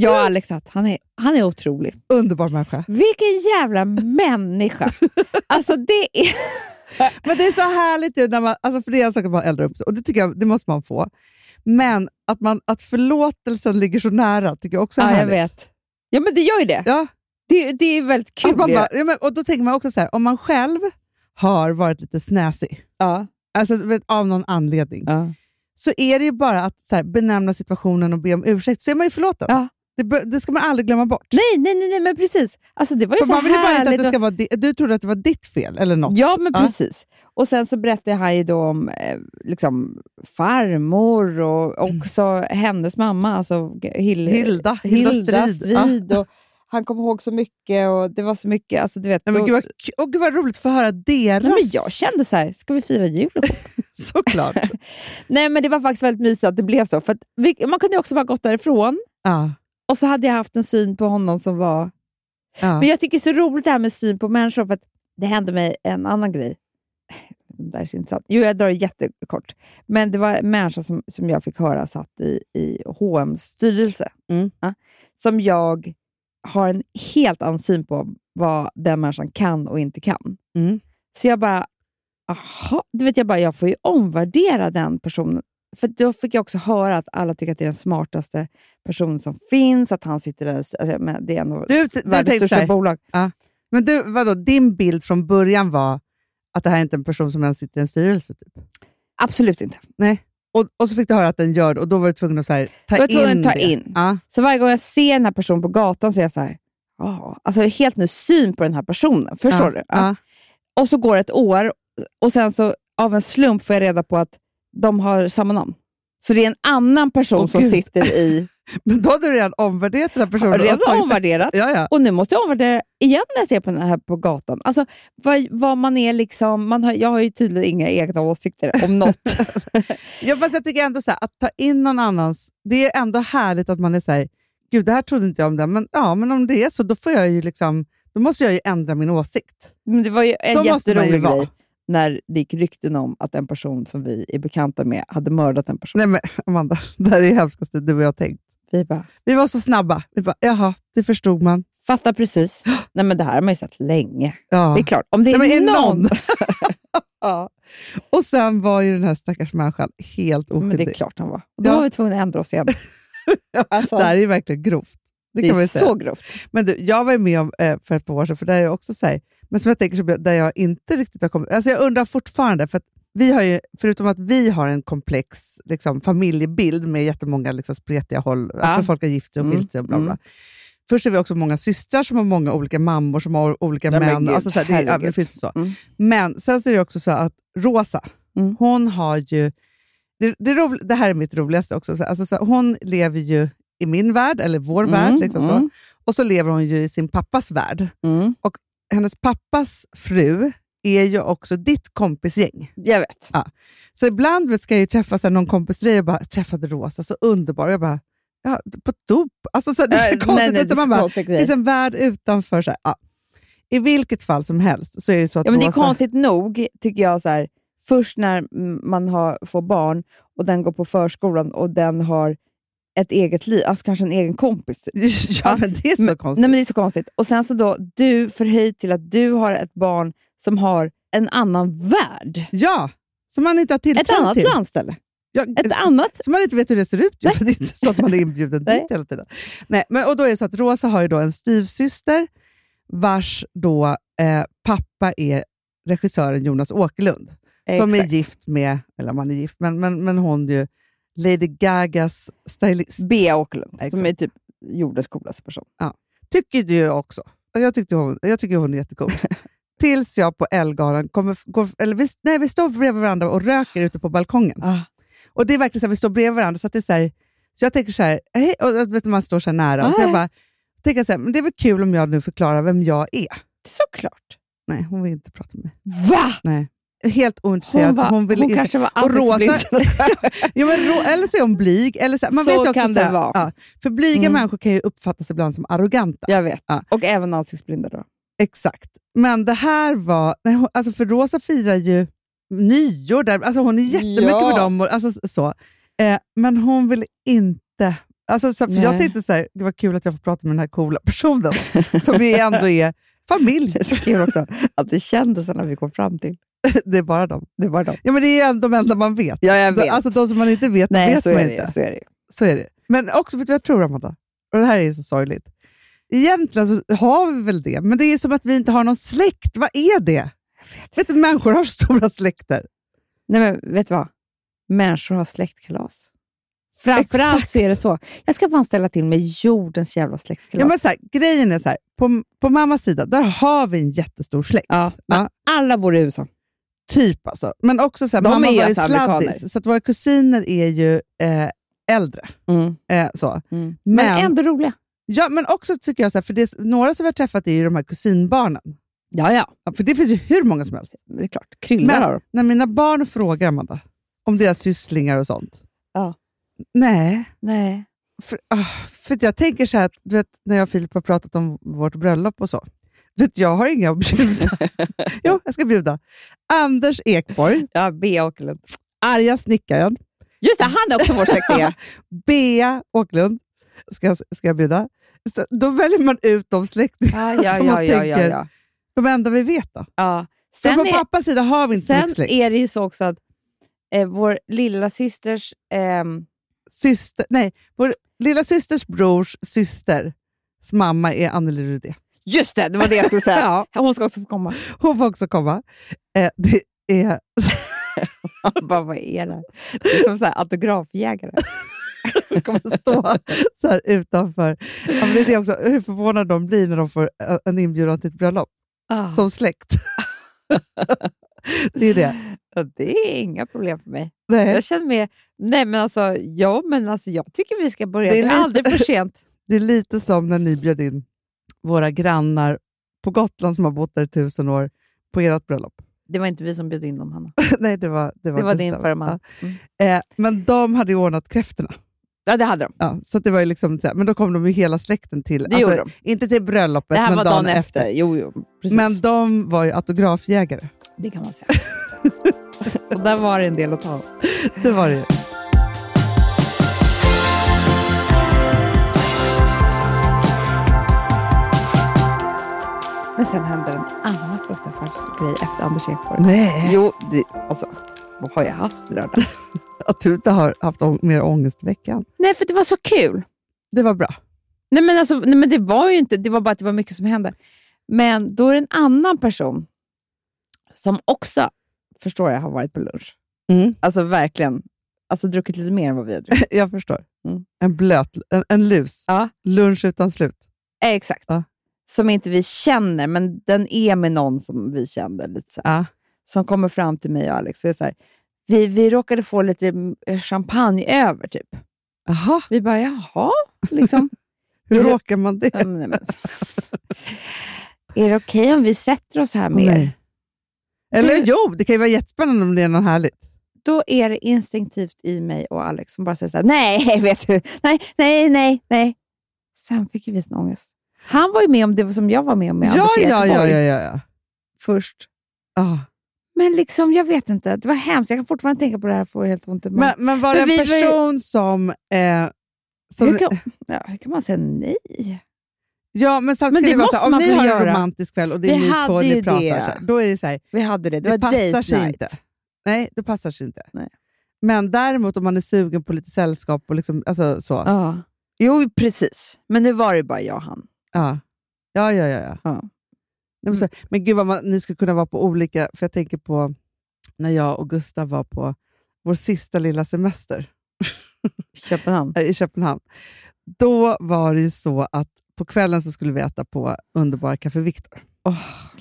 F: Jag och Alex, att han är, han är otrolig.
E: Underbar människa.
F: Vilken
E: [laughs]
F: jävla människa! Alltså det är...
E: Men det är så härligt ju när man, alltså för det är en sak att man eldar upp sig, och det tycker jag det måste man få. Men att, man, att förlåtelsen ligger så nära tycker jag också är
F: Ja, jag
E: härligt.
F: vet. Ja, men det gör ju det.
E: Ja,
F: Det, det är väldigt kul.
E: att man
F: ju.
E: bara, ja, men, och då tänker man också så här, om man själv har varit lite snäsig,
F: ja.
E: alltså du vet, av någon anledning,
F: Ja.
E: så är det ju bara att så här, benämna situationen och be om ursäkt, så är man ju förlåten.
F: Ja.
E: Det, bör- det ska man aldrig glömma bort.
F: Nej, nej, nej, nej, men precis. Alltså det var ju
E: För
F: så
E: man vill ju bara inte att
F: härligt
E: det
F: och-
E: ska vara di- du trodde att det var ditt fel eller något.
F: Ja, men precis. Och sen så berättade han ju då om eh, liksom, farmor och också hennes mamma, alltså G- Hil-
E: Hilda, Hilda,
F: Hilda
E: Strid. Ja.
F: Strid. Och han kom ihåg så mycket och det var så mycket. Alltså, du vet,
E: Nej, men
F: då-
E: gud, vad, k- åh, gud vad roligt att få höra deras.
F: Nej, men jag kände så här, ska vi fira jul?
E: [laughs]
F: ihop?
E: Såklart.
F: Nej, men det var faktiskt väldigt mysigt att det blev så. För att vi, man kunde ju också bara gått därifrån
E: ja.
F: och så hade jag haft en syn på honom som var...
E: Ja.
F: Men jag tycker det är så roligt det här med syn på människor, för att det hände mig en annan grej. Det där är så intressant. Jo, jag drar det jättekort. Men det var en människa som, som jag fick höra satt i, i H&M styrelse.
E: Mm.
F: Ja, som jag har en helt annan syn på vad den människan kan och inte kan.
E: Mm.
F: Så jag bara, aha. Du vet, jag bara, jag får ju omvärdera den personen. För då fick jag också höra att alla tycker att det är den smartaste personen som finns, att han sitter där, alltså, men det är en av
E: Du, du
F: världens
E: tänkte så
F: största
E: här,
F: bolag.
E: men du, vadå, din bild från början var att det här är inte en person som ens sitter i en styrelse? Typ.
F: Absolut inte.
E: Och, och så fick du höra att den gör det och då var du tvungen att så här, ta
F: Jag var tvungen
E: in
F: att ta
E: det.
F: in.
E: Ja.
F: Så varje gång jag ser den här personen på gatan så är jag så här, "Ah." alltså jag har helt ny syn på den här personen. Förstår
E: Ja,
F: du?
E: ja.
F: Och så går det ett år och sen så av en slump får jag reda på att de har samma namn. Så det är en annan person
E: Åh,
F: som
E: Gud.
F: sitter
E: [laughs]
F: i...
E: Men då hade du redan omvärderat den här personen. och
F: Redan
E: tagit-
F: omvärderat.
E: Ja, ja.
F: Och nu måste jag omvärdera igen när jag ser på den här på gatan. Alltså, vad, vad man är liksom... Man har, jag har ju tydligen inga egna åsikter om
E: [laughs]
F: något.
E: Ja, fast jag tycker ändå så här, att ta in någon annans... Det är ändå härligt att man är så här, gud det här trodde inte jag om den, men, ja, men om det är så då får jag ju liksom, då måste jag ju ändra min åsikt.
F: Men det var ju en
E: Så måste man ju
F: jätterolig
E: vara.
F: grej när det gick rykten om att en person som vi är bekanta med hade mördat en person.
E: Nej men Amanda, [laughs] det här är det hemskaste du och jag tänkt.
F: Vi bara,
E: Vi var så snabba. Vi bara, jaha, det förstod man.
F: fattar
E: [gasps]
F: precis. Nej men det här har man ju sett länge.
E: Ja.
F: Det är klart, om det är,
E: Nej, men är det
F: någon.
E: [laughs] ja. Och sen var ju den här stackars människan
F: [laughs]
E: helt
F: Men det
E: oskyldig.
F: är klart han var. Då
E: Ja.
F: var vi tvungna att ändra oss igen. Alltså,
E: Det här är ju verkligen grovt. Det,
F: det
E: kan man
F: är
E: ju säga.
F: så grovt.
E: Men du, jag var ju med om eh, för ett par år sedan, för där är jag också så här, men som jag tänker så- där jag inte riktigt har kommit... Alltså jag undrar fortfarande, för att vi har ju, förutom att vi har en komplex liksom, familjebild med jättemånga liksom, spretiga håll,
F: Ja.
E: för folk har gift sig och
F: Mm,
E: skilt sig och bla bla. Först är vi också många systrar som har många olika mammor som har olika
F: Nej, men
E: män.
F: gud,
E: Alltså, så här, det, är- ja,
F: herregud.
E: det finns så.
F: Mm.
E: Men sen så är det också så att Rosa,
F: Mm.
E: hon har ju... Det, det, ro, det här är mitt roligaste också. Så, här, alltså, så, här, hon lever ju i min värld, eller vår värld. Liksom så.
F: mm,
E: Och så lever hon ju i sin pappas värld.
F: mm.
E: Hennes pappas fru är ju också ditt kompisgäng.
F: Jag vet.
E: Så ibland vet, ska jag ju träffa så här, någon kompis till dig och bara “träffade Rosa, så underbar”. Och Jag bara ja, “på dop?” Alltså så här, det är så
F: Äh,
E: konstigt.
F: nej, nej,
E: utan
F: det är
E: man
F: så
E: bara,
F: konstigt
E: det
F: grej.
E: finns en värld utanför. Så här, ja. I vilket fall som helst så är det ju så att
F: Ja, men det är
E: Rosa...
F: konstigt nog, tycker jag, så här, först när mm, man har, får barn och den går på förskolan och den har ett eget liv, alltså kanske en egen kompis. typ.
E: [laughs] ja, men det är så
F: Men-
E: konstigt.
F: Nej, men det är så konstigt. Och sen så då, du förhöjt till att du har ett barn som har en annan värld.
E: Ja, som man inte har tillträde
F: Ett annat
E: till.
F: landställe.
E: Ja,
F: Ett annat...
E: Så man inte vet hur det ser ut. Ju,
F: Nej.
E: för det är inte så att man är inbjuden dit
F: Nej.
E: hela tiden. Nej, men, och då är det så att Rosa har ju då en styvsyster vars då, eh, pappa är regissören Jonas Åkerlund. Som är
F: Exakt.
E: gift med, eller man är gift, men, men, men hon är ju Lady Gagas stylist.
F: Bea Åkerlund, som
E: Exakt.
F: är typ jordens coolaste person.
E: Tycker du ju också. Och Jag, tyckte hon, jag tycker hon
F: [laughs]
E: är jättecool. Tills jag på Ellegalan kommer, går, eller vi, nej, vi står bredvid varandra och röker ute på balkongen.
F: Ah.
E: Och det är verkligen så här, vi står bredvid varandra, så att det är så här, så jag tänker så här, hej, och du vet, man står så här nära, och så
F: Ah.
E: jag bara, tänker så här, men det är väl kul om jag nu förklarar vem jag är.
F: Såklart.
E: Nej, hon vill inte prata med mig.
F: Va?
E: Helt ointresserad.
F: Hon, var, hon,
E: ville inte-
F: kanske var
E: Och Rosa-
F: ansiktsblind.
E: [laughs] ja, men, rå- eller så är hon blyg. Eller så här, man
F: Så
E: vet ju också
F: kan
E: så här,
F: det vara.
E: Ja, för blyga
F: Mm.
E: människor kan ju uppfattas ibland som arroganta.
F: [laughs] jag vet.
E: Ja.
F: Och även ansiktsblinda då.
E: Exakt. Men det här var... Nej, hon, alltså för Rosa firar ju nyår där. Alltså hon är jättemycket
F: Ja.
E: med dem. Och, alltså, så. Eh, men hon vill inte... Alltså, så, för jag
F: Nej.
E: tänkte så här, det var kul att jag får prata med den här coola personen [laughs] som ju ändå är
F: [laughs]
E: familj.
F: Det är så kul också att det är kändisarna vi kom fram till.
E: Det är bara dem.
F: Det var de.
E: Ja, men det är ju ändå de enda man vet.
F: Ja, jag
E: De- Alltså de som man inte vet, de
F: Nej,
E: vet
F: så
E: man
F: är, det,
E: inte.
F: ju, så är det ju.
E: Så är det. Men också, vet du vad jag tror Amanda? Och det här är ju så sorgligt. Egentligen så har vi väl det, men det är som att vi inte har någon släkt. Vad är det?
F: vet
E: Vet du, människor har [laughs] stora släkter.
F: Nej, men vet du vad? Människor har släktkalas. Framförallt
E: Exakt.
F: så är det så. Jag ska fan ställa till med jordens jävla släktkalas.
E: Ja, men så här, grejen är så här, på, på mammas sida, där har vi en jättestor släkt.
F: Ja, men
E: Ja.
F: alla bor i USA.
E: Typ alltså. Men också så här,
F: De
E: mamma
F: är ju
E: var ju
F: alltså amerikaner.
E: sladdis, så att våra kusiner är ju eh, äldre. Eh, så.
F: Mm.
E: Men-
F: Men, ändå roliga.
E: Ja, men också tycker jag, så här, för det, är- några som vi har träffat är ju de här kusinbarnen.
F: Ja, ja.
E: Ja, För det finns ju hur många som helst.
F: Det är klart. Kryllar av
E: Men
F: dem.
E: när mina barn frågar Amanda om deras sysslingar och sånt.
F: Ja.
E: Nej,
F: Nej.
E: för, ah, för att jag tänker så här, att, du vet, när jag och Filip har pratat om vårt bröllop och så. Du vet, jag har inga
F: [laughs]
E: att bjuda. jo, jag ska bjuda. Anders Ekborg,
F: Ja, Bea Åkerlund.
E: arga snickaren,
F: Just det, han är också vår [laughs] släkt. Bea.
E: Bea Åkerlund ska, jag- ska jag bjuda. Så, då väljer man ut de släktingar
F: Ja, ja,
E: som man
F: ja, ja, ja,
E: tänker,
F: ja.
E: de enda vi vet. Då.
F: ja.
E: Sen
F: Sen,
E: på
F: är,
E: pappas sida har vi inte så mycket
F: sen
E: släkt.
F: är det ju så också att eh, vår lilla systers ehm,
E: Syster, nej, vår lilla systers brors systers mamma är Anneli Rudé.
F: Just det, det var det jag skulle [laughs] säga.
E: Ja,
F: Hon ska också få komma.
E: hon får också komma. Eh, det är
F: Jag [laughs] Bara, vad är det? här? det är som så här autografjägare.
E: som kommer stå [laughs] så här utanför. Ja, men det är det också, hur förvånade de blir när de får eh, Ah. en inbjudan till ett bröllop
F: Ah.
E: som släkt. [laughs] det är det.
F: Ja, det är inga problem för mig.
E: Nej,
F: Jag känner mig... Nej, men alltså, ja, men alltså jag tycker vi ska börja.
E: Det
F: Det
E: är
F: är,
E: lite-
F: aldrig för sent.
E: det är lite som när ni bjöd in våra grannar på Gotland som har bott där i tusen år på ert bröllop. [laughs]
F: Det var inte vi som bjöd in dem, Hanna.
E: Nej, det var, det var,
F: Det var din
E: Gustav.
F: förman.
E: Ja.
F: Mm.
E: Eh, men de hade ju ordnat kräftorna.
F: Ja, det hade de.
E: Ja, så att det var ju liksom, så här- men då kom de ju hela släkten till. alltså,
F: Det gjorde de.
E: Inte till bröllopet,
F: Det här
E: men
F: var dagen efter.
E: efter.
F: Jo, jo, precis.
E: Men de var ju autografjägare.
F: Det kan man
E: [laughs]
F: säga. Och där var det en del att ta av.
E: Det var det ju.
F: Men sen hände en annan fruktansvärd grej efter Anders Ekborg.
E: Nej,
F: Jo, det, alltså, vad har jag haft för
E: [laughs]
F: lördag?
E: att du inte har haft ång- mer ångest i veckan.
F: nej, för det var så kul.
E: Det var bra. [laughs]
F: Nej, men, alltså, nej, men det var ju inte, det var bara att det var mycket som hände. Men då är det en annan person som också, förstår jag, har varit på lunch.
E: Mm.
F: Alltså verkligen, alltså druckit lite mer än vad vi har
E: [laughs]
F: druckit.
E: Jag förstår.
F: Mm.
E: En blöt, en, en lus.
F: Ja.
E: Lunch utan slut.
F: Eh, exakt.
E: Ja.
F: Som inte vi känner, men den är med någon som vi känner. lite så här.
E: Ja.
F: Som kommer fram till mig och Alex och är så här, vi, vi råkade få lite eh, champagne över typ.
E: Aha,
F: Vi bara, jaha, liksom.
E: [laughs] hur
F: Är det-
E: råkar man det?
F: Ja, men, nej, men. [laughs] Är det okej om vi sätter oss här med er?
E: Nej. Eller
F: Du-
E: jo, det kan ju vara jättespännande om det är något härligt.
F: Då är det instinktivt i mig och Alex som bara säger så här, nej, [laughs] vet du, nej, nej, nej, nej. Sen fick ju vi sån ångest. Han var ju med om det som jag var med om med
E: ja,
F: Anders
E: ja, ja, ja,
F: Ekborg
E: ja, ja.
F: först.
E: Ah.
F: Men liksom, jag vet inte, det var hemskt. Jag kan fortfarande tänka på det här och får helt ont i magen.
E: Men, men var det
F: Men vi
E: en
F: var ju-
E: person som... Eh, som
F: hur, kan, ja, hur kan man säga nej?
E: Ja, men samtidigt
F: Men det måste
E: ska det vara så här, om
F: man
E: ni
F: väl
E: har en
F: göra?
E: romantisk kväll och det är
F: Vi
E: ni två
F: hade
E: ni
F: ju
E: pratar,
F: det.
E: så här, då är det så här,
F: Vi hade det, det,
E: det,
F: var
E: passar
F: date
E: sig
F: night.
E: inte. Nej, det passar sig inte.
F: Nej.
E: Men däremot om man är sugen på lite sällskap och liksom, alltså så. Ja.
F: Ja. Jo, precis. Men nu var det bara jag och han.
E: Ja, ja, ja. ja,
F: Ja. Mm.
E: Nej, men, så, men gud vad man, ni skulle kunna vara på olika, för jag tänker på när jag och Gustav var på vår sista lilla semester.
F: Köpenhamn.
E: eh, i Köpenhamn. Då var det ju så att på kvällen så skulle vi äta på underbara Café Victor.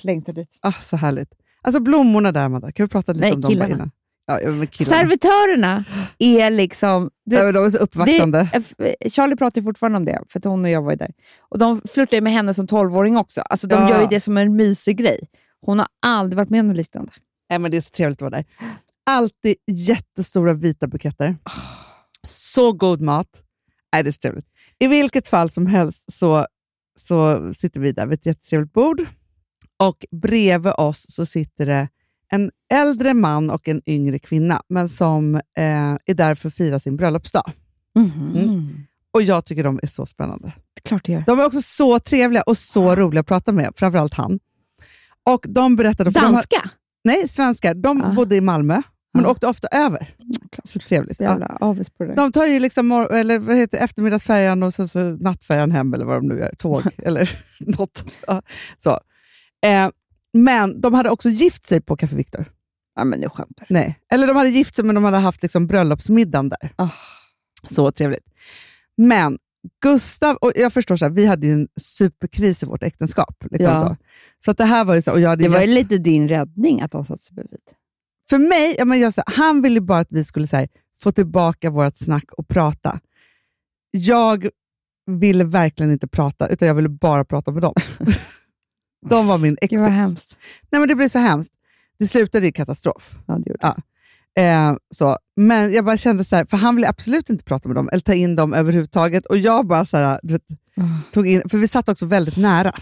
F: Längtar dit.
E: Ah, så härligt. Alltså blommorna där, Amanda. Kan vi prata lite
F: Nej,
E: om dem bara
F: killarna.
E: innan? Ja, ja, men killarna.
F: Servitörerna är liksom... Du,
E: Ja, men de är så uppvaktande.
F: vi- eh, Charlie pratar ju fortfarande om det, för att hon och jag var ju där. Och de flörtar ju med henne som tolvåring också. Alltså, de
E: Ja.
F: gör ju det som en mysig grej. Hon har aldrig varit med om något liknande.
E: Nej, men det är så trevligt att vara där. Alltid jättestora vita buketter. Så god mat. Nej, det är så trevligt. I vilket fall som helst så, så sitter vi där vid ett jättetrevligt bord. Och bredvid oss så sitter det en äldre man och en yngre kvinna, men som eh, är där för att fira sin bröllopsdag. Mhm.
F: Mm.
E: Och jag tycker de är så spännande.
F: Klart det gör.
E: De är också så trevliga och så roliga att prata med, framförallt han. Och de berättade... för de har-
F: Danska!
E: Nej, svenskar. De
F: Ah.
E: bodde i Malmö, men
F: Ah.
E: åkte ofta över.
F: Klart.
E: Så trevligt.
F: Så
E: Ja.
F: jävla avis på det där.
E: De tar ju liksom mor- eller vad heter, det, eftermiddagsfärjan och sen så nattfärjan hem, eller vad de nu gör.
F: [laughs]
E: Tåg eller [laughs] något. Ja, så. Eh, men de hade också gift sig på Café Victor.
F: Ja, men nu skämtar du.
E: Nej. Eller de hade gift sig, men de hade haft liksom bröllopsmiddagen där.
F: Ah.
E: Så trevligt. Men Gustav, och jag förstår, så här, vi hade ju en superkris i vårt äktenskap. Liksom
F: Ja.
E: så. så att det här var ju så, och jag hade
F: Det var
E: jätte-
F: ju lite din räddning att de satte sig bredvid.
E: För mig, ja, men jag, så, här, han ville bara att vi skulle så här, få tillbaka vårt snack och prata. Jag ville verkligen inte prata, utan jag ville bara
F: [laughs]
E: prata med dem. De var min ex.
F: Gud vad hemskt.
E: Nej, men det blev så hemskt. Det slutade i katastrof.
F: Ja, det gjorde
E: Ja. Eh, så. Men jag bara kände så här, för han ville absolut inte prata med dem eller ta in dem överhuvudtaget. Och jag bara så här, du vet,
F: Ah.
E: tog in, för vi satt också väldigt nära.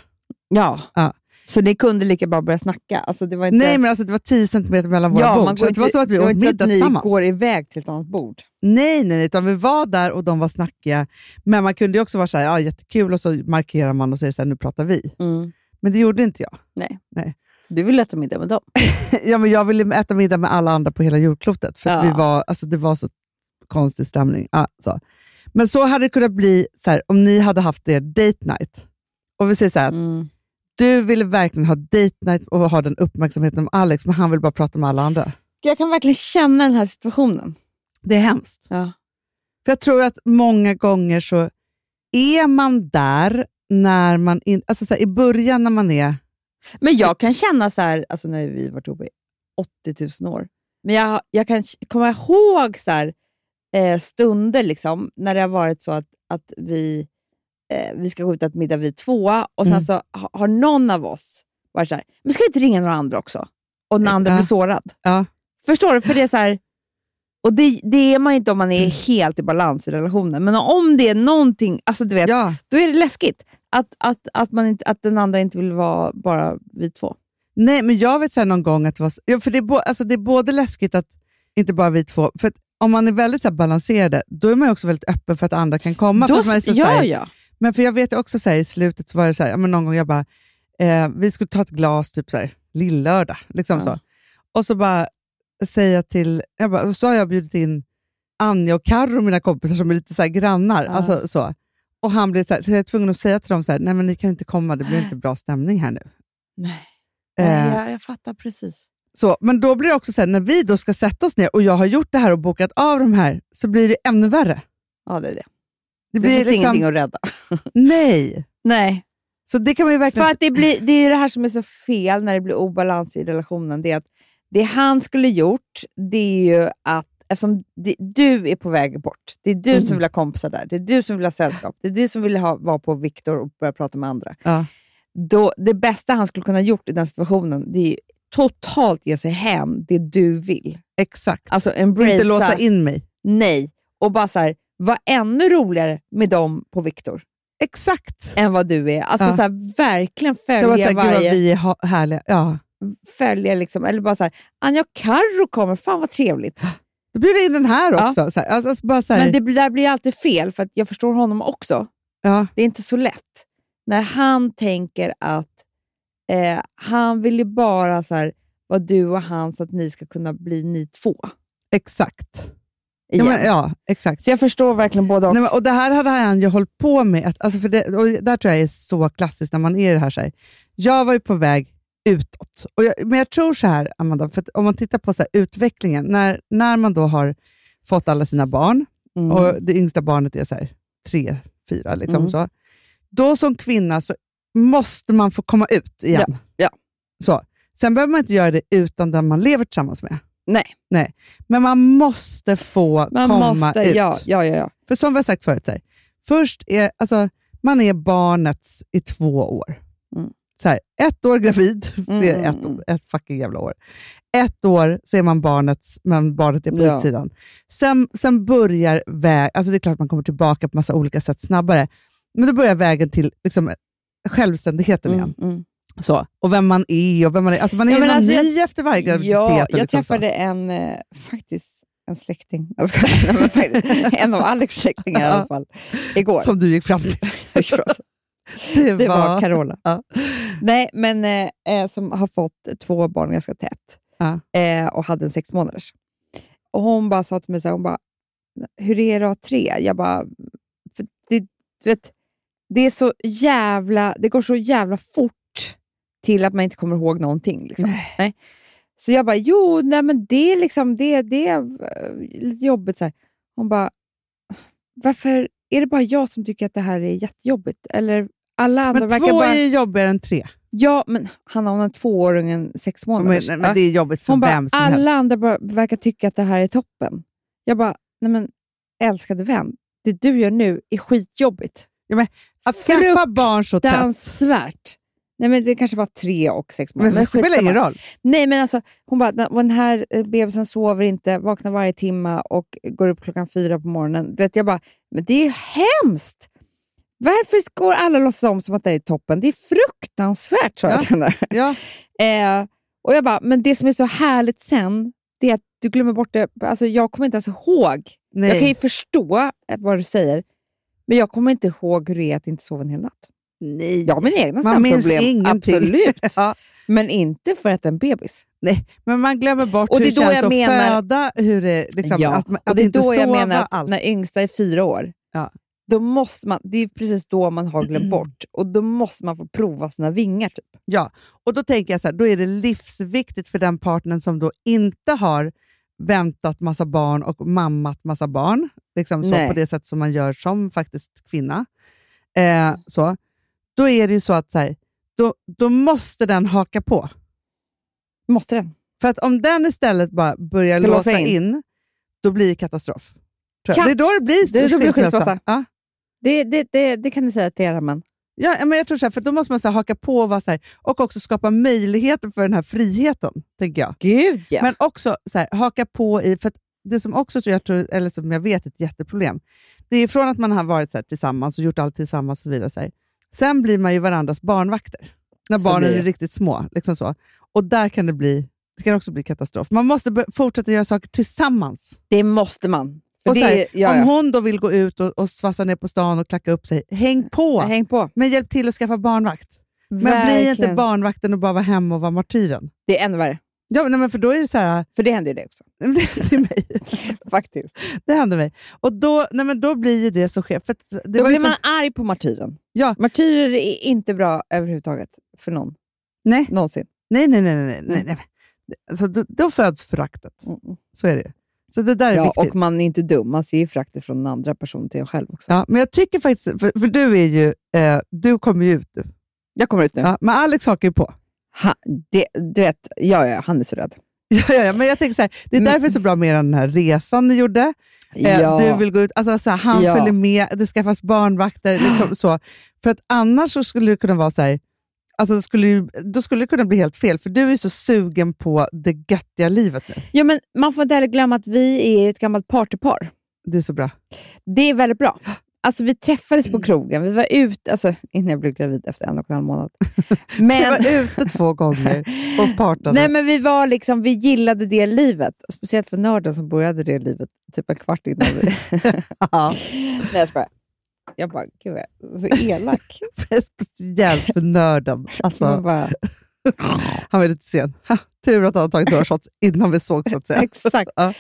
F: ja.
E: Ja.
F: Så ni kunde lika bra börja snacka? Alltså, det var inte...
E: Nej, men alltså det var 10 centimeter mellan våra
F: ja, man
E: bord.
F: går
E: Så det var
F: inte-
E: så att vi
F: det var
E: åt
F: inte så
E: middag
F: att ni
E: tillsammans.
F: går iväg till ett annat bord.
E: Nej, nej, nej, utan vi var där och de var snackiga. Men man kunde ju också vara så här, ja, jättekul och så markerar man och säger så här, nu pratar vi. Men det gjorde inte jag.
F: Mm. Du vill äta middag med dem?
E: ja, men jag ville äta middag med alla andra på hela jordklotet, för att
F: Ja.
E: vi var, alltså, det var så konstig stämning. Ja, så. Men så hade det kunnat bli så här, om ni hade haft er date night. Och vi säger så här, att
F: Mm.
E: du ville verkligen ha date night och ha den uppmärksamheten med Alex, men han vill bara prata med alla andra.
F: Jag kan verkligen känna den här situationen.
E: Det är hemskt.
F: Ja.
E: För jag tror att många gånger så är man där när man in, alltså så här, i början när man är...
F: Men jag kan känna så här, alltså när vi har varit ihop i 80 000 år, Men jag, jag kan k- komma ihåg så här, eh, stunder liksom, när det har varit så att, att vi, eh, vi ska gå ut och äta middag vi tvåa och sen
E: Mm.
F: så ha, har någon av oss varit så här, men ska vi inte ringa några andra också? Och den andra
E: Ja.
F: blir sårad.
E: Ja.
F: Förstår du? För det är så här, och det, det är man ju inte om man
E: Mm.
F: är helt i balans i relationen, men om det är någonting, alltså du vet,
E: Ja.
F: då är det läskigt att, att, att, man inte, att den andra inte vill vara bara vi två.
E: Nej, men jag vet så här någon gång att det var... s- Ja, för det, är bo, alltså det är både läskigt att inte bara vi två... För att om man är väldigt så här balanserade, då är man ju också väldigt öppen för att andra kan komma. för
F: Då,
E: att man är så, så här,
F: ja, ja.
E: Men för jag vet också så här, i slutet så var det så här, ja, men någon gång jag bara, eh, vi skulle ta ett glas typ så här, lillördag. Liksom
F: Ja.
E: så. Och så bara säger jag till, jag bara, och så har jag bjudit in Anja och Karo, mina kompisar som är lite så här grannar.
F: Ja.
E: Alltså, så. Och han blev så, här, så jag är tvungen att säga till dem så här, nej men ni kan inte komma, det
F: Äh.
E: blir inte bra stämning här nu.
F: Nej.
E: Eh,
F: jag, jag fattar precis.
E: så, men då blir det också så här, när vi då ska sätta oss ner och jag har gjort det här och bokat av de här, så blir det ännu värre.
F: Ja, det är det.
E: Det
F: Det,
E: blir
F: finns
E: liksom,
F: ingenting att rädda.
E: nej.
F: Nej,
E: Så det kan man ju
F: för
E: verkligen...
F: att det, blir, det är ju det här som är så fel när det blir obalans i relationen. Det är att det han skulle gjort, det är ju att Eftersom det, du är på väg bort. Det är du som
E: Mm.
F: vill ha kompisar där. Det är du som vill ha sällskap. Det är du som vill ha, vara på Viktor och börja prata med andra.
E: Ja.
F: Då, det bästa han skulle kunna gjort i den situationen, det är ju totalt ge sig hän det du vill.
E: Exakt.
F: Alltså embracea.
E: Inte låsa in mig.
F: nej. Och bara så här, var ännu roligare med dem på Viktor
E: Exakt.
F: än vad du är. Alltså
E: Ja.
F: så här, verkligen
E: Så jag var så
F: följa
E: här, gud vad
F: varje...
E: vi är ha- härliga. Ja.
F: Följa liksom, eller bara så här, Anja och Carro kommer, fan vad trevligt.
E: Då bjuder jag in den här
F: Ja.
E: också. Så här, alltså, alltså, bara så här,
F: Men det blir- där blir ju alltid fel, för att jag förstår honom också.
E: ja.
F: Det är inte så lätt. När han tänker att eh, han vill ju bara så här, vara du och han så att ni ska kunna bli ni två
E: Exakt. Ja,
F: igen.
E: men, ja, exakt.
F: Så jag förstår verkligen båda och.
E: Nej, men, och Det här hade han ju hållit på med. Att, alltså för det, och där tror jag är så klassiskt när man är i det här. Så här. Jag var ju på väg utåt. Och jag, men jag tror så här, Amanda, för att om man tittar på så här, utvecklingen. När, när man då har fått alla sina barn,
F: Mm.
E: och det yngsta barnet är så här, tre, fyra. Liksom,
F: Mm.
E: så. Då som kvinna så måste man få komma ut igen.
F: ja.
E: Så. Sen behöver man inte göra det utan den man lever tillsammans med.
F: Nej.
E: Nej. Men man måste få
F: Man
E: komma
F: måste,
E: ut.
F: ja, ja, ja, ja.
E: För som vi har sagt förut, så här, först är, alltså, man är barnets i två år.
F: Mm.
E: Så här, ett år gravid, [laughs] för det är
F: Mm,
E: ett,
F: mm,
E: ett fucking jävla år. Ett år så är man barnets, men barnet är på
F: Ja.
E: utsidan. Sen, sen börjar vägen, alltså det är klart man kommer tillbaka på massa olika sätt snabbare, men då börjar vägen till liksom, självständigheten
F: Mm,
E: igen.
F: mm.
E: Så. Och vem man är och vem man är. Alltså man är
F: Ja,
E: ju
F: men
E: någon
F: alltså, jag-
E: ny efter varje graviditet.
F: Ja,
E: och
F: jag
E: liksom så.
F: träffade en, eh, faktiskt, en släkting. Jag skojar, [laughs] Nej, men faktiskt, en av Alex släktingar i alla fall. Igår. [laughs]
E: Som du gick fram till.
F: Det var Carola.
E: Ja.
F: Nej, men eh, eh, som har fått två barn ganska tätt
E: Ja.
F: eh, och hade en sex månaders. Och hon bara sa till mig så här, hon bara, hur är det att ha tre? Jag bara, för det, du vet, det är så jävla, det går så jävla fort till att man inte kommer ihåg någonting. Liksom. Nej. Så jag bara, jo, nej men det är liksom, det, det är eh, lite jobbigt. Så här. Hon bara, varför är det bara jag som tycker att det här är jättejobbigt? Eller alla andra
E: Men
F: verkar
E: två
F: bara...
E: är ju jobbigare än tre.
F: Ja, men Hanna, hon har en tvååring och en sex
E: Men,
F: månader.
E: nej, men det är jobbigt för
F: "Ah." hon bara,
E: vem som
F: alla
E: helst.
F: andra bara verkar tycka att det här är toppen. Jag bara, nej men älskade vän, det du gör nu är skitjobbigt.
E: Att skaffa barn så tätt,
F: Dansvärt. Nej, men det kanske var tre och sex månader.
E: men det spelar
F: skitsamma.
E: ingen roll.
F: Nej, men alltså, hon bara, "Den- den här eh, bebisen sover inte, vaknar varje timme och går upp klockan fyra på morgonen. Du Vet, jag bara, men det är ju hemskt! Varför går alla och låtsas om som att det är toppen? Det är fruktansvärt, sa jag
E: Ja.
F: till henne. [laughs]
E: Ja.
F: Eh, och jag bara, men det som är så härligt sen, det är att du glömmer bort det. Alltså, jag kommer inte ens ihåg.
E: Nej.
F: Jag kan ju förstå eh, vad du säger, men jag kommer inte ihåg hur det är att inte sova en hel natt.
E: Nej.
F: Jag har mina egna
E: Man minns
F: sömnproblem,
E: ingenting.
F: absolut.
E: [laughs] Ja.
F: Men inte för att en bebis.
E: Men man glömmer bort
F: Och det
E: hur
F: är
E: det
F: då
E: känns
F: jag
E: att
F: menar-
E: föda, hur det, liksom,
F: Ja,
E: att, man-
F: och
E: att
F: det är
E: inte
F: då
E: sova
F: jag menar att
E: allt.
F: när yngsta är fyra år,
E: Ja.
F: då måste man, det är precis då man har
E: [clears throat]
F: glömt bort och då måste man få prova sina vingar. Typ.
E: Ja, och då tänker jag så här, då är det livsviktigt för den partnern som då inte har väntat massa barn och mammat massa barn, liksom så,
F: Nej.
E: på det sätt som man gör som faktiskt kvinna. Eh, så. Då är det ju så att så här, då, då måste den haka på.
F: Måste den?
E: För att om den istället bara börjar
F: Ska
E: låsa
F: låsa
E: in.
F: in.
E: då blir det katastrof. Tror jag.
F: Kan-
E: det är då det blir
F: Det är då det blir skilsmässa.
E: Ja.
F: Det, det, det, det kan ni säga till era män.
E: Ja, men jag tror så här, för då måste man så här, haka på och, vara så här, och också skapa möjligheter för den här friheten, tänker jag.
F: Gud ja.
E: Men också så här, haka på i, för att det som också tror jag, tror, eller som jag vet är ett jätteproblem, det är från att man har varit så här, tillsammans och gjort allt tillsammans och så vidare. Så här. Sen blir man ju varandras barnvakter, när
F: Så
E: barnen
F: blir det.
E: är riktigt små. Liksom så. Och där kan det bli det kan också bli katastrof. Man måste bör- fortsätta göra saker tillsammans.
F: det måste man. För
E: Och
F: det,
E: så här,
F: ja,
E: om
F: ja.
E: hon då vill gå ut och, och svassa ner på stan och klacka upp sig, häng på!
F: Häng på.
E: Men hjälp till att skaffa barnvakt. Men bli inte
F: Verkligen.
E: barnvakten och bara vara hemma och vara martyren.
F: Det är ännu värre.
E: Ja, men- nej, men för då är det så här, [laughs]
F: För det händer ju det också.
E: till mig.
F: Faktiskt.
E: Det hände mig. Och då, nej, men då blir ju det så skevt. För att det
F: Då
E: var ju
F: blir
E: så,
F: man arg på martyren.
E: Ja.
F: Martyrer är inte bra överhuvudtaget för någon.
E: Nej.
F: Någonsin.
E: Nej, nej, nej. nej, nej,
F: Mm.
E: nej. Alltså, då, då föds föraktet. Så är det ju. Så det där är
F: Ja,
E: viktigt.
F: och man är inte dum. Man ser ju fraktet från den andra personen till en själv också.
E: Ja, men jag tycker faktiskt, för, för du är ju, eh, du kommer ju ut nu.
F: Jag kommer ut nu.
E: Ja, men Alex hakar ju på. [laughs]
F: Ha, det, du vet, ja, ja, han är så rädd.
E: Ja, ja, ja, men jag tänker så här, det är
F: Mm.
E: därför det är så bra med er den här resan ni gjorde. Eh,
F: Ja.
E: Du vill gå ut, alltså, så här, han
F: Ja.
E: följer med, det
F: [gasps]
E: skaffas barnvakter. Liksom, så. För att annars så skulle det kunna vara så här, alltså, det skulle, ju- då skulle det kunna bli helt fel, för du är så sugen på det göttiga livet nu.
F: ja, men man får inte heller glömma att vi är ju ett gammalt partypar.
E: Det är så bra.
F: Det är väldigt bra. Alltså, vi träffades
E: Mm.
F: på krogen, vi var ute, alltså, innan jag blev gravid efter en och en halv
E: [laughs]
F: månad.
E: Vi
F: Men,
E: var ute två gånger och partade.
F: nej, men vi, var liksom, vi gillade det livet, Och speciellt för nörden som började det livet typ en kvart innan vi...
E: [laughs] Ja.
F: nej, jag skojar. Jag bara, gud vad jag är så elak.
E: Speciellt för nörden.
F: Man
E: [laughs] Alltså,
F: bara,
E: han var lite sen. Ha, tur att han hade tagit några shots innan vi såg så att säga.
F: [laughs] Exakt.
E: Ja.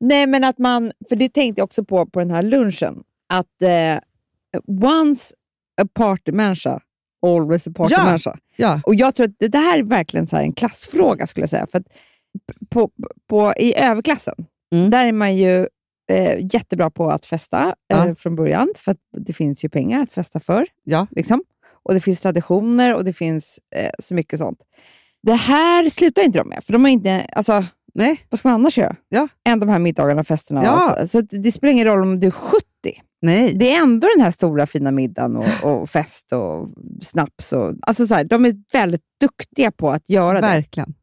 F: Nej, men att man, för det tänkte jag också på på den här lunchen, att eh, once a partymänniska, always a partymänniska.
E: Ja.
F: Och jag tror att det, det här är verkligen så här en klassfråga skulle jag säga. För att på, på, I överklassen,
E: Mm.
F: där är man ju eh, jättebra på att festa eh,
E: Ja.
F: från början, för att det finns ju pengar att festa för.
E: Ja.
F: Liksom. Och det finns traditioner och det finns eh, så mycket sånt. Det här slutar inte de med, för de har inte, alltså,
E: Nej.
F: vad ska man annars göra?
E: Ja.
F: Än de här middagarna och festerna.
E: Ja.
F: Alltså. Så att det spelar ingen roll om du är 70.
E: Nej.
F: Det är ändå den här stora fina middagen
E: [laughs]
F: och, och fest och snaps. Och, alltså så här, de är väldigt duktiga på att göra det.
E: Verkligen.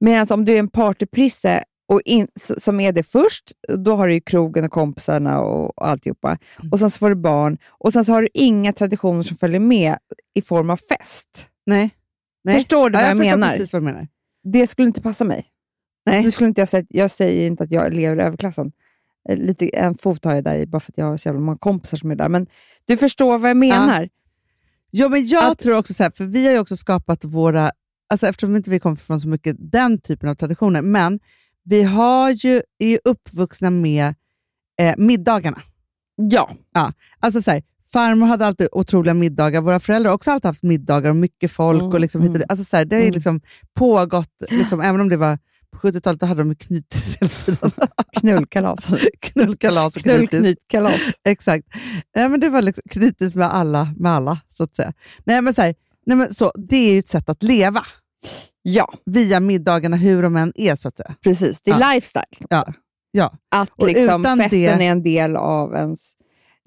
F: Medan om du är en partyprisse och in, s- som är det först, då har du ju krogen och kompisarna och, och alltihopa.
E: Mm.
F: Och sen så får du barn och sen så har du inga traditioner som följer med i form av fest.
E: Nej. Nej.
F: Förstår du
E: Ja,
F: vad jag,
E: jag förstår
F: menar?
E: precis vad du menar.
F: Det skulle inte passa mig.
E: Nej.
F: Nu skulle inte jag, säga, jag säger inte att jag lever i överklassen. Eh, Lite, en fot har jag där i bara för att jag har så jävla många kompisar som är där. Men du förstår vad jag menar.
E: Ja, men jag
F: Att-
E: tror också så här, för vi har ju också skapat våra, alltså eftersom inte vi kommer från så mycket den typen av traditioner, men vi har ju, är ju uppvuxna med eh, middagarna.
F: Ja.
E: Alltså så här, farmor hade alltid otroliga middagar, våra föräldrar har också alltid haft middagar och mycket folk.
F: Mm,
E: och liksom hit och
F: mm.
E: dit. Alltså så här, det har ju
F: Mm.
E: liksom pågått, liksom, även om det var på 70-talet, då hade de ju knytis hela tiden.
F: [laughs] Knullkalas.
E: Knullkalas och knytis.
F: Knullknytkalas.
E: Exakt. Nej, men det var liksom kritiskt med alla, med alla så att säga. Nej, men så här, nej, men så, det är ju ett sätt att leva
F: Ja,
E: via middagarna, hur de än är så att säga.
F: precis. Det är
E: Ja.
F: lifestyle. kan man
E: Ja.
F: säga.
E: Ja.
F: Att
E: Och
F: liksom,
E: utan
F: festen
E: det-
F: är en del av ens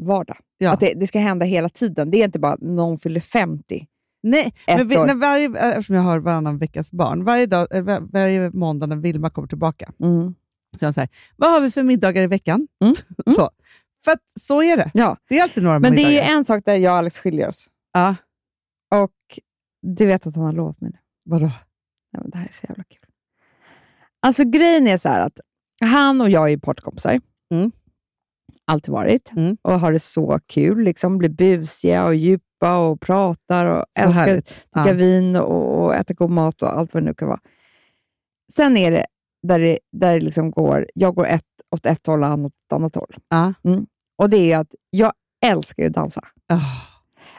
F: vardag.
E: Ja.
F: Att det, det ska hända hela tiden. Det är inte bara någon fyller 50.
E: Nej,
F: Ett
E: men vi,
F: år.
E: när varje, eftersom jag har varannan veckas barn, varje, dag, eh, var- varje måndag när Vilma kommer tillbaka så är hon så här, vad har vi för middagar i veckan?
F: Mm,
E: Så. För att så är det.
F: Ja.
E: Det är alltid några
F: Men det
E: middagar.
F: är ju en sak där jag och Alex skiljer oss.
E: Ja,
F: Och du vet att han har lovat mig nu.
E: vadå?
F: Nej, men det här är så jävla kul. Alltså grejen är så här att han och jag är ju partykompisar.
E: Mm.
F: Alltid varit.
E: Mm.
F: Och har det så kul. Liksom blir busiga och djupa och pratar och
E: Så
F: älskar
E: härligt.
F: att dricka
E: Ja.
F: vin och, och äta god mat och allt vad det nu kan vara. Sen är det där det, där det liksom går, jag går ett, åt ett håll och han åt ett annat håll.
E: Ja.
F: Mm. Och det är ju att jag älskar ju att dansa.
E: Ah,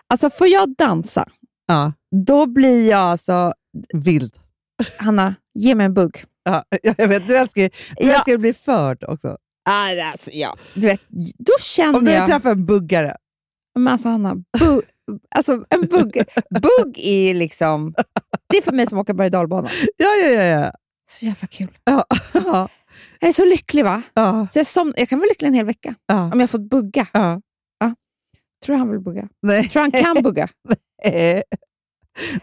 F: Alltså får jag dansa,
E: ja,
F: då blir jag alltså,
E: vild.
F: Hanna, ge mig en bugg.
E: Ja, [laughs] jag vet, du älskar ju du
F: Ja.
E: älskar ju att bli förd också.
F: Nej, Alltså, ja. Du vet, då känner
E: Om du
F: jag...
E: träffar en buggare,
F: Men alltså Hanna, bu, alltså, en bugg, bugg är liksom... Det är för mig som åker berg och dalbana.
E: ja, ja, ja, ja.
F: Så jävla kul.
E: Ja, ja,
F: Jag är så lycklig va?
E: ja,
F: Så jag, som, jag kan vara lycklig en hel vecka
E: ja.
F: om jag fått bugga.
E: ja.
F: Tror han vill bugga?
E: [laughs] Nej.
F: Tror han kan bugga?
E: Nej,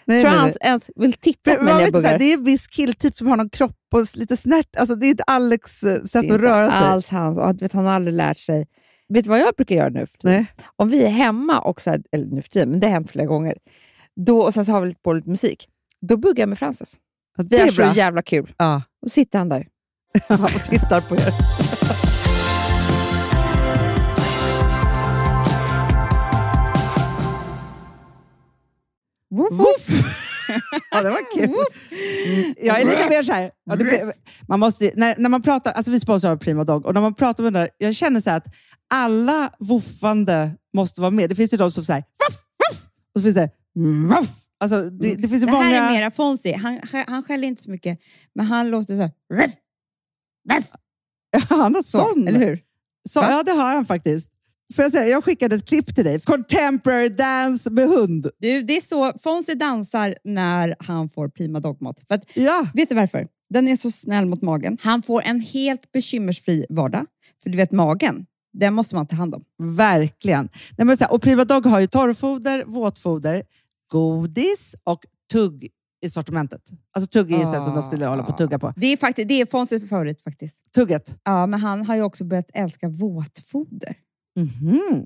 E: nej,
F: Tror han
E: nej.
F: ens- ens vill titta
E: För
F: på
E: man
F: mig när
E: vet
F: jag
E: inte, så här,
F: buggar?
E: det är en viss killtyp som har någon kropp och lite snärt. Alltså, det är inte Alex eh,
F: Det är
E: sätt
F: inte
E: att röra sig.
F: alls hans. Och, vet, han har aldrig lärt sig. Vet du vad jag brukar göra nu? för tiden?
E: Nej.
F: Om vi är hemma, och så här, eller nu för tiden, men det har hänt flera gånger, då, och sen så har vi lite på lite musik, då buggar jag med Frances.
E: Ja,
F: Vi
E: det
F: har
E: är
F: så
E: bra.
F: jävla kul.
E: [laughs] Ja,
F: Och sitter han där.
E: och [laughs] tittar på er.
F: Woof,
E: Ja, det var kul. Mm. Jag är lite mer så här. Ja, det, man måste, ju- när, när man pratar, alltså vi sponsrar Prima Dog och när man pratar med den där, jag känner så här att alla voffande måste vara med. Det finns ju de som säger voff, voff, och så finns det voff. Alltså, det, det finns ju
F: Det
E: många...
F: här är
E: [laughs]
F: mera Fonzie. Han, han skäller inte så mycket, men han låter så här... "Ruff, ruff",
E: Han har
F: Så,
E: sån.
F: eller hur?
E: Så,
F: Va?
E: ja, det har han faktiskt. Får jag, säga, jag skickade ett klipp till dig. Contemporary dance med hund.
F: Du, det är så Fonzie dansar när han får prima dogmat. För att
E: Ja,
F: Vet du varför? Den är så snäll mot magen. Han får en helt bekymmersfri vardag. För du vet, magen, den måste man ta hand om.
E: verkligen. Nej, men så här, och Prima Dog har ju torrfoder, våtfoder, godis och tugg i sortimentet. Alltså tugg är ju så här som de skulle hålla på att tugga på.
F: Det är, faktiskt, det är Fonzies favorit faktiskt.
E: Tugget.
F: Ja, men han har ju också börjat älska våtfoder.
E: Mhm.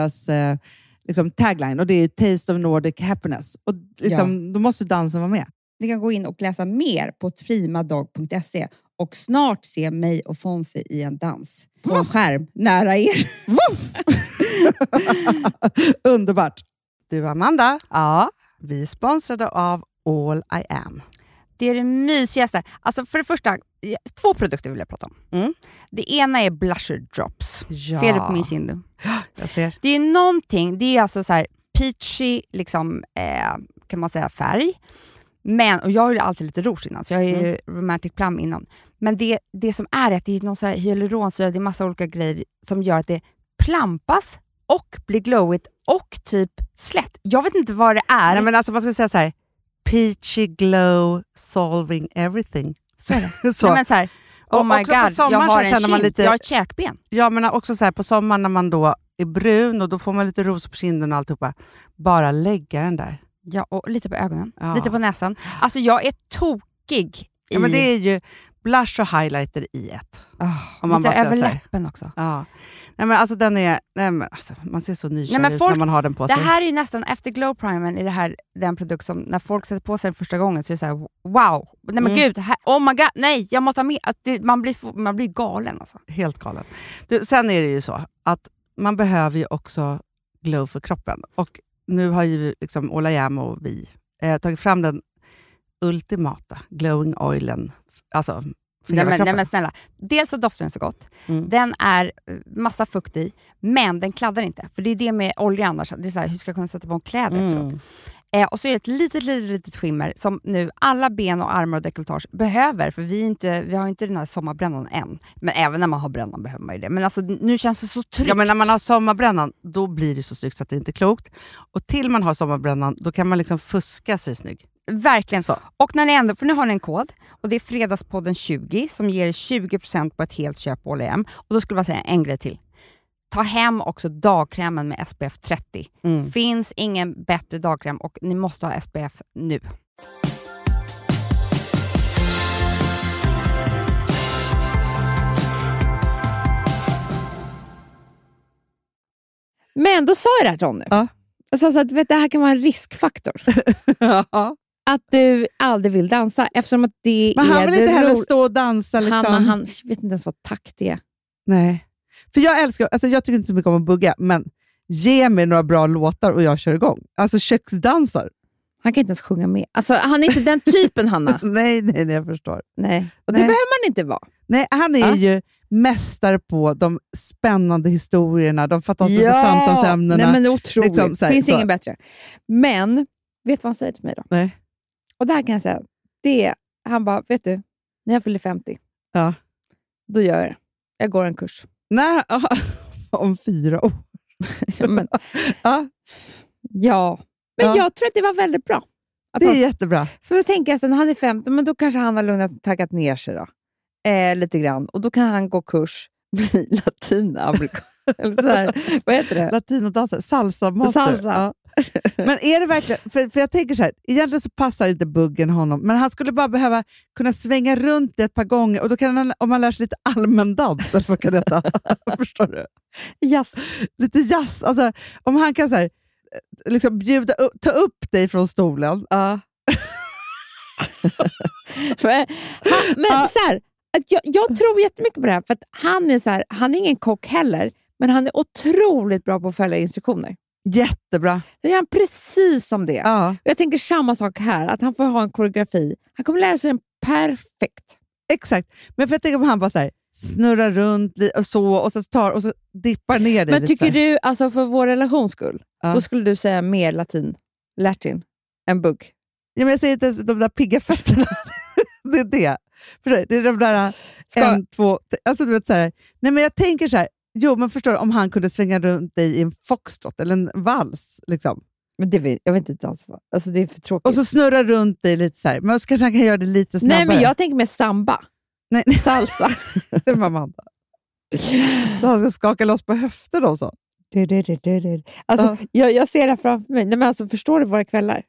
E: eh, liksom tagline och det är ju Taste of Nordic Happiness. Och liksom, Då måste dansen vara med.
F: Ni kan gå in och läsa mer på trimadag.se och snart se mig och Fonzie i en dans på en skärm nära er. [laughs]
E: Underbart! Du Amanda,
H: Ja.
E: vi är sponsrade av All I Am.
H: Det är det mysigaste. Alltså för det första, eh, två produkter vill jag prata om.
E: Mm.
H: Det ena är blusher drops.
E: Ja.
H: Ser du på min kind? nu?
E: Jag ser.
H: Det är någonting, det är alltså så här peachy liksom, eh, kan man säga färg. Men, och jag har ju alltid lite rouge innan, så jag har ju
E: Mm.
H: romantic plum innan. Men det, det som är är att det är någon så här hyaluronsyra, det är massa olika grejer som gör att det plampas och blir glowigt och typ slätt. Jag vet inte vad det är.
E: Nej, men alltså, man ska säga så här. Peachy glow solving everything.
H: så är det.
E: [laughs] Så.
H: Nej, men så här,
E: Och
H: oh my
E: också på
H: god, jag
E: sommaren
H: har
E: så
H: en
E: känner man
H: kind.
E: lite-
H: jag har ett käkben.
E: Jag menar också så här, på sommaren när man då är brun och då får man lite rosor på kinden och alltihopa. Bara lägga den där.
H: Ja, och lite på ögonen,
E: Ja.
H: lite på näsan. Alltså jag är tokig i...
E: Ja, men det är ju blush och highlighter i ett.
H: Ah,
E: om man bara
H: lite
E: ska
H: över
E: säga så här.
H: läppen också.
E: Ja. Nej, men alltså, den är, nej, men alltså, man ser så
H: Nej,
E: nykär
H: men
E: ut när
H: folk-
E: man har den på
H: Det
E: sig.
H: här är ju nästan, efter glow primern, är det här den produkt som när folk sätter på sig den första gången så är det så här: wow, nej men
E: Mm.
H: gud, här, oh my god, nej jag måste ha mer. Att det, man, blir, f- man blir galen alltså.
E: Helt galen. Du, sen är det ju så att man behöver ju också glow för kroppen. Och nu har ju liksom Ola Jäm och vi eh, tagit fram den ultimata glowing oilen. f- Alltså, för
H: Nej
E: hela
H: men, nej
E: kroppen.
H: men snälla, dels så doftar den så gott,
E: Mm.
H: den är eh, massa fukt i, men den kladdar inte. För det är det med olja annars, det är så här, hur ska jag kunna sätta på mig kläder efteråt?
E: Mm.
H: Eh, och så är det ett litet, litet, litet skimmer som nu alla ben och armar och dekolletage behöver, för vi, är inte, vi har inte den här sommarbrännan än. Men även när man har brännan behöver man ju det. Men alltså, nu känns det så tryggt.
E: Ja, men när man har sommarbrännan, då blir det så snyggt så att det inte är klokt. Och till man har sommarbrännan, då kan man liksom fuska sig snygg.
H: Verkligen
E: Så.
H: så. Och när ni ändå, för nu har ni en kod och det är Fredagspodden 20 som ger er 20% på ett helt köp på Åhléhem. Och då skulle jag bara säga en grej till. Ta hem också dagkrämen med SPF 30.
E: Mm.
H: Finns ingen bättre dagkräm och ni måste ha SPF nu.
F: Men då sa jag det här till honom nu.
E: Ja.
F: Jag sa så att vet, du, det här kan vara en
E: [laughs]
F: riskfaktor. Att du aldrig vill dansa eftersom att det
E: Men
F: är
E: han vill
F: det
E: inte heller
F: ro-
E: stå och dansa. Liksom.
F: Han, han vet inte ens vad takt är.
E: Nej. För jag älskar, alltså jag tycker inte så mycket om att bugga, men ge mig några bra låtar och jag kör igång. Alltså köksdansar.
F: Han kan inte ens sjunga med. Alltså, han är inte den typen, Hanna.
E: [laughs] Nej, nej, nej, jag förstår.
F: Nej. Och det
E: Nej.
F: behöver man inte vara.
E: Nej, han är
F: Ja.
E: ju mästare på de spännande historierna, de fantastiska samtalsämnena.
F: Nej, men det är otroligt.
E: Liksom så här,
F: finns
E: så.
F: ingen bättre. Men, vet du vad han säger till mig då?
E: Nej.
F: Och det här kan jag säga. Det, han bara, vet du, när jag fyller 50,
E: Ja.
F: då gör jag det. Jag går en
E: [laughs]
F: kurs.
E: Nej, ja, om fyra år.
F: Ja, men,
E: Ja.
F: ja. men
E: Ja.
F: jag tror att det var väldigt bra. Att
E: Det
F: han,
E: är jättebra.
F: För då tänker jag sen, han är 50, men då kanske han har lugnat, taggat ner sig då. Eh, lite grann. Och då kan han gå kurs, bli [laughs] latinamerikan. Eller så här, vad heter det?
E: Latinodanser, salsa-master.
F: Salsa.
E: Ja. Men är det verkligen, för, för jag tänker så här, egentligen så passar inte buggen honom, men han skulle bara behöva kunna svänga runt det ett par gånger och då kan han, om han lär sig lite allmän dans, eller vad kan det heta? [laughs] Förstår du?
F: Jazz.
E: Lite jazz, alltså om han kan så här, eh, liksom bjuda upp, ta upp dig från stolen.
F: Ja. men han, men
E: Ja.
F: så här, att jag, jag tror jättemycket på det här, för att han är, så här, han är ingen kock heller, men han är otroligt bra på att följa instruktioner.
E: Jättebra.
F: Det är han precis som det.
E: Ja,
F: Och Jag tänker samma sak här, att han får ha en koreografi. Han kommer lära sig den perfekt.
E: exakt. Men för jag tänker om han bara så här, snurrar runt li- och så och sen tar och så dippar ner dig
F: Men
E: lite. så
F: tycker
E: här.
F: du, alltså för vår relations skull,
E: Ja.
F: då skulle du säga mer latin, latin, än bugg?
E: Ja, men jag säger inte ens de där pigga fötterna. [laughs] det är det. Förstår du? Det är de där eh,
F: Ska-
E: en, två... t- Alltså, du vet, så här. Nej, men jag tänker så här. Jo, men förstår du, om han kunde svänga runt dig i en foxtrot eller en vals. Liksom.
F: Men det vill, jag vet inte alls vad. Alltså det är för tråkigt.
E: Och så snurra runt dig lite så här. Men så kanske han kan göra det lite snabbare.
F: Nej, men jag tänker mer samba.
E: Nej. [laughs]
F: Salsa.
E: Det är mamma. Amanda. Då Han ska skaka loss på höften och så.
F: Du, du, du, du, du. Alltså,
E: Ja.
F: jag, jag ser det här framför mig. Nej, men alltså, förstår du våra kvällar?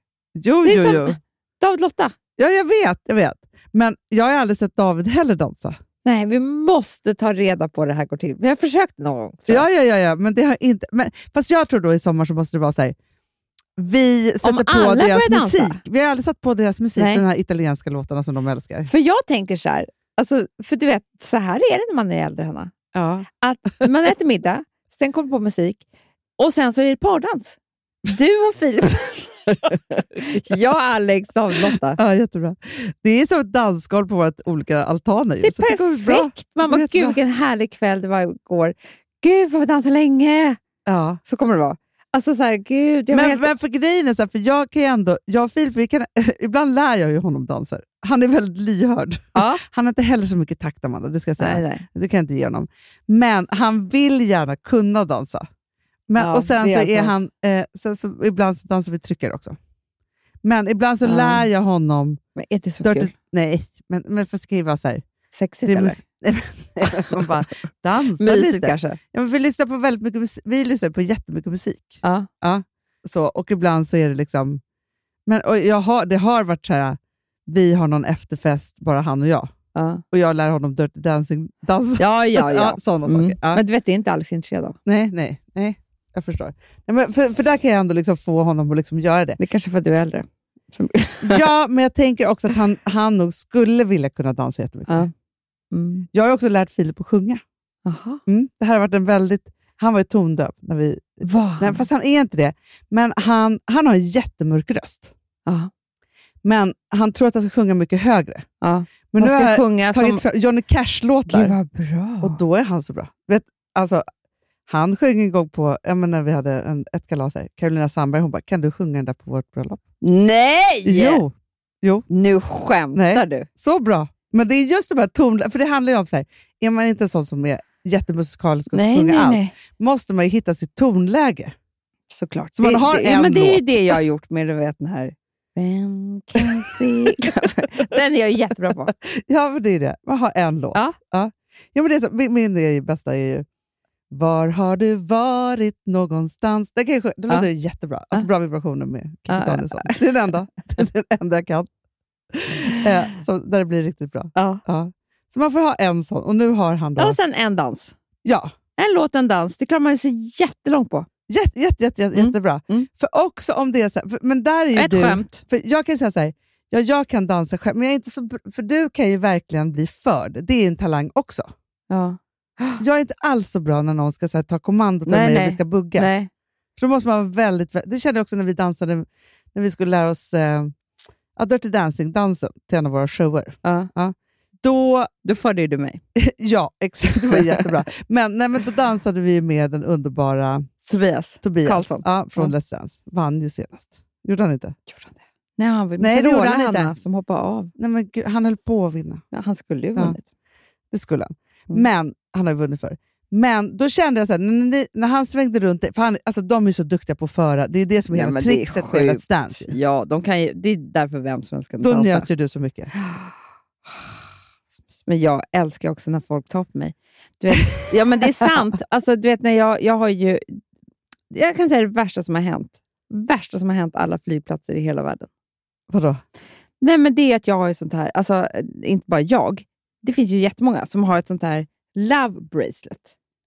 E: Jo,
F: Det är
E: jo,
F: som-
E: jo.
F: David Lotta,
E: Ja, jag vet, jag vet. Men jag har aldrig sett David heller dansa.
F: nej, vi måste ta reda på hur det här går till. Vi har försökt någon gång. tror jag.
E: Ja, ja, ja, ja. Men det har inte... Men, fast jag tror då i sommar så måste det vara så här. Vi sätter på
F: alla
E: deras
F: börjar dansa.
E: musik. Vi har aldrig satt på deras musik,
F: Nej.
E: de här italienska låtarna som de älskar.
F: För jag tänker så här, alltså, för du vet, så här är det när man är äldre, Hanna.
E: Ja.
F: Att man äter middag, sen kommer på musik och sen så är det pardans. Du och
E: [laughs]
F: Filip. jag, Alex, David Lotta.
E: ja, jättebra. Det är som ett dansgolv på våra olika altaner. ju,
F: Det är
E: så att går bra.
F: perfekt! Man bara,
E: Det går jättebra.
F: gud vilken härlig kväll det var igår. Gud vad vi dansade länge!
E: Ja.
F: Så kommer det vara. Alltså så här, gud, jag var
E: Men,
F: helt...
E: men för grejen är så här, för jag kan ju ändå, jag och Filip, vi kan, [laughs] ibland lär jag ju honom danser. Han är väldigt lyhörd.
F: Ja.
E: Han har inte heller så mycket takt, Amanda, det ska jag säga.
F: nej, nej.
E: Det kan jag inte ge honom. Men han vill gärna kunna dansa. Men,
F: Ja,
E: och sen
F: det är
E: så
F: allt
E: är
F: annat.
E: han, eh, sen så, ibland så dansar vi tryckare också. Men ibland så
F: Ja.
E: lär jag honom...
F: Men är det så
E: Dirty-
F: kul?
E: nej, men, men för ska ju vara så här.
F: Sexigt
E: Det är
F: eller?
E: mus- [laughs] man bara dansa
F: Mysigt
E: lite.
F: kanske?
E: Ja, men vi, lyssnar på väldigt mycket musik, vi lyssnar på jättemycket musik.
F: Ja.
E: Så, och ibland så är det liksom... Men, och jag har, det har varit så här, vi har någon efterfest, bara han och jag.
F: Ja,
E: Och jag lär honom Dirty Dancing
F: [laughs]
E: dansa.
F: ja, ja. ja.
E: sådana
F: Mm.
E: saker. Ja.
F: Men du vet, det är inte Alex intresserad av.
E: Nej, nej, nej. Jag förstår. Nej, men för, för där kan jag ändå liksom få honom att liksom göra det.
F: Det är kanske för att du är äldre.
E: Ja, men jag tänker också att han, han nog skulle vilja kunna dansa jättemycket.
F: Ja. Mm.
E: Jag har också lärt Filip att sjunga.
F: Aha.
E: Mm. Det här har varit en väldigt... Han var ju tondöv när vi...
F: Vad?
E: Nej, fast han är inte det. Men han, han har en jättemörk röst.
F: Ja.
E: Men han tror att han ska sjunga mycket högre.
F: Ja. Han
E: Men nu
F: ska
E: har jag
F: sjunga som...
E: tagit fram Johnny
F: Gud
E: Cash-låtar
F: vad bra!
E: och då är han så bra. Vet, alltså, han sjöng en gång på, ja, men när vi hade en, ett kalas här, Carolina Sandberg, hon bara, kan du sjunga den där på vårt bröllop?
F: Nej!
E: Jo,
F: Nu skämtar
E: Nej.
F: du!
E: så bra. Men det är just de här tonerna, för det handlar ju om så här, är man inte en sån som är jättemusikalisk och
F: Nej,
E: sjunger
F: nej,
E: allt,
F: nej.
E: måste man ju hitta sitt tonläge. [laughs]
F: Såklart.
E: Så man
F: det,
E: har
F: det, ja,
E: en
F: men det är ju
E: låt.
F: det jag har gjort med du vet, den här... Vem kan se... [laughs] den är jag jättebra på.
E: Ja, men det är det. Man har en låt.
F: Ja.
E: Ja. Ja, men det är så, min, min är ju, bästa är ju Var har du varit någonstans? Den kan jag, sjunga- då
F: Ja.
E: låter det jättebra. Alltså
F: Ja.
E: bra vibrationer med
F: Ja,
E: Kikki
F: ja,
E: Danielsson. Det är den enda, [laughs] det är den enda jag kan. Eh, så där det blir riktigt bra.
F: Ja.
E: Ja. Så man får ha en sån. Och nu har han då...
F: Och sen en dans.
E: Ja,
F: En låt, en dans. Det klarar man sig jättelångt på.
E: jätte, jätte, jätte, jätte,
F: Mm.
E: jättebra.
F: Mm.
E: För också om det är så här, för, Men där är ju
F: Ett
E: du...
F: skämt.
E: För jag kan ju säga så här, ja, jag kan dansa själv, men jag är inte så, br- för du kan ju verkligen bli förd. Det är ju en talang också.
F: Ja.
E: Jag är inte alls så bra när någon ska så här, ta kommandot av
F: Nej,
E: mig och
F: nej.
E: vi ska bugga.
F: Nej.
E: För då måste man vara väldigt, vä- det kände jag också när vi dansade när vi skulle lära oss eh, ja, Dirty Dancing-dansen till en av våra shower.
F: Ja.
E: Då, [clears throat]
F: Då förde ju du mig.
E: ja, exakt, det
F: [laughs]
E: var jättebra. Men, nej, men då dansade vi ju med den underbara
F: Tobias.
E: Tobias
F: Karlsson.
E: Ja, från
F: Ja.
E: Let's Dance. Vann ju senast. Gjorde han inte?
F: Nej, han var
E: Nej, det gjorde han inte.
F: Hanna, som hoppade av.
E: Nej, men gud, han höll på att vinna.
F: Ja, han skulle ju
E: Ja.
F: vunnit.
E: Det skulle han.
F: Mm.
E: Men han har ju vunnit för. Men då kände jag så här, när, ni- när han svängde runt, det- för han, alltså, de är så duktiga på att föra, det är det som är
F: Ja,
E: hela
F: men det är
E: trixet med
F: sjukt.
E: Let's Dance. ju.
F: Alltså, Ja, de kan ju, det är därför vem som helst kan
E: Då
F: dansa.
E: njöt ju du så mycket.
F: Men jag älskar också när folk tar på mig. Du vet, ja, men det är
E: [laughs]
F: sant. Alltså, du vet, när jag, jag har ju... Jag kan säga det värsta som har hänt. Värsta som har hänt alla flygplatser i hela världen.
E: Vadå?
F: Nej, men det är att jag har ju sånt här, alltså eh, inte bara jag, det finns ju jättemånga som har ett sånt här love bracelet.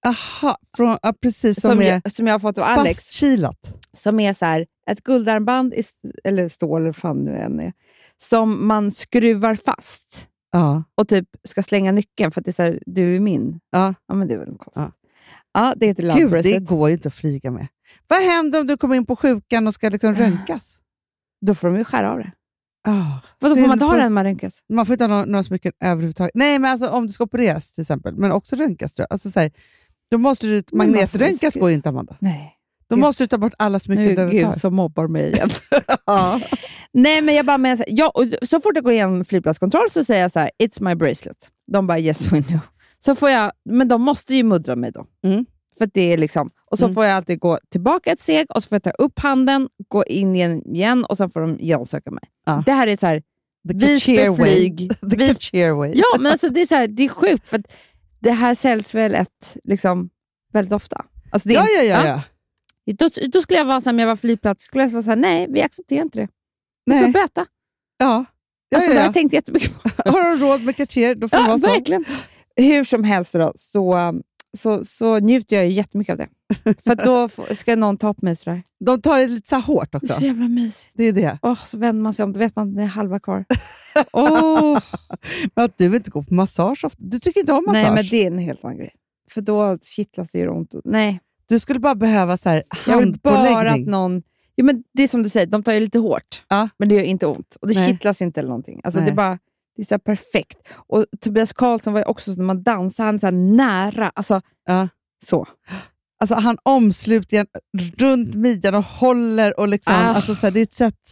E: Aha, från, ja, precis som,
F: Som,
E: är
F: jag, som jag har fått av Alex.
E: fastkilat.
F: Som är så här, ett guldarmband, i, s- eller stål eller vad fan nu än är, som man skruvar fast
E: Ja.
F: och typ ska slänga nyckeln för att det är så här, du är min.
E: Ja.
F: men det är väl konstigt.
E: Ja.
F: Ja, det heter love
E: Gud, det
F: bracelet.
E: går ju inte att flyga med. Vad händer om du kommer in på sjukan och ska liksom
F: Ah.
E: röntgas?
F: Då får de ju skära av det.
E: Oh,
F: Vadå, får man inte ha den när man röntgas?
E: Man får inte ha några, några smycken överhuvudtaget. Nej, men alltså, om du ska opereras till exempel, men också röntgas. tror jag. Alltså, så här, då måste du,
F: Men varför
E: magnetröntgas
F: ska-
E: går ju inte, Amanda.
F: Nej.
E: Då
F: Gud.
E: måste du ta bort alla
F: Nu
E: smycken du
F: är det Gud
E: överhuvudtaget.
F: som mobbar mig [laughs] igen.
E: Ja.
F: Nej, men jag bara menar så, här, ja, och så fort jag går igenom flygplatskontroll så säger jag så här, it's my bracelet. De bara yes we know. Så får jag, men de måste ju muddra mig då.
E: Mm.
F: För att det är liksom, och så
E: Mm.
F: får jag alltid gå tillbaka ett steg och så får jag ta upp handen, gå in igen, igen och så får de genomsöka mig.
E: Ja.
F: Det här är så här,
E: The
F: Visby
E: Kachir way.
F: flyg.
E: [laughs] The
F: Vis-
E: Kachir way.
F: ja, men alltså, det, är så här, det är sjukt för att det här säljs väl ett, liksom, väldigt ofta. Alltså, det är,
E: ja, ja, ja. ja.
F: Då, då skulle jag vara som jag var flygplats, skulle jag vara så här, nej vi accepterar inte det. Vi får
E: Nej.
F: böta.
E: ja. Ja,
F: Alltså, Det har
E: ja, ja.
F: jag tänkt jättemycket på.
E: Har de råd med Kachir, då får det
F: Ja,
E: vara så.
F: verkligen. Hur som helst då, så, um, så, så njuter jag ju jättemycket av det. För att då får- ska någon ta upp mig sådär.
E: De tar det lite så här hårt
F: Det
E: också.
F: är så jävla mysigt.
E: Det är det.
F: Åh, så vänder man sig om, då vet man att det är halva kvar. [laughs] Åh,
E: Men att du inte går på massage ofta. Du tycker inte om massage.
F: nej, men det är en helt annan grej. För då kittlas det ju runt. och- Nej,
E: Du skulle bara behöva så här
F: jag vill bara att
E: handpåläggning.
F: någon... Jo, men det är som du säger, de tar ju lite hårt,
E: Ja.
F: men det gör inte ont. Och det
E: Nej.
F: kittlas inte eller någonting. Alltså, det
E: Nej.
F: är bara det är så här perfekt. Och Tobias Karlsson var ju också så när man dansar, han är så här nära. Alltså,
E: Ja.
F: så.
E: Alltså, han omsluter en runt midjan och håller. Och liksom,
F: Ah.
E: alltså, så här, det är ett sätt.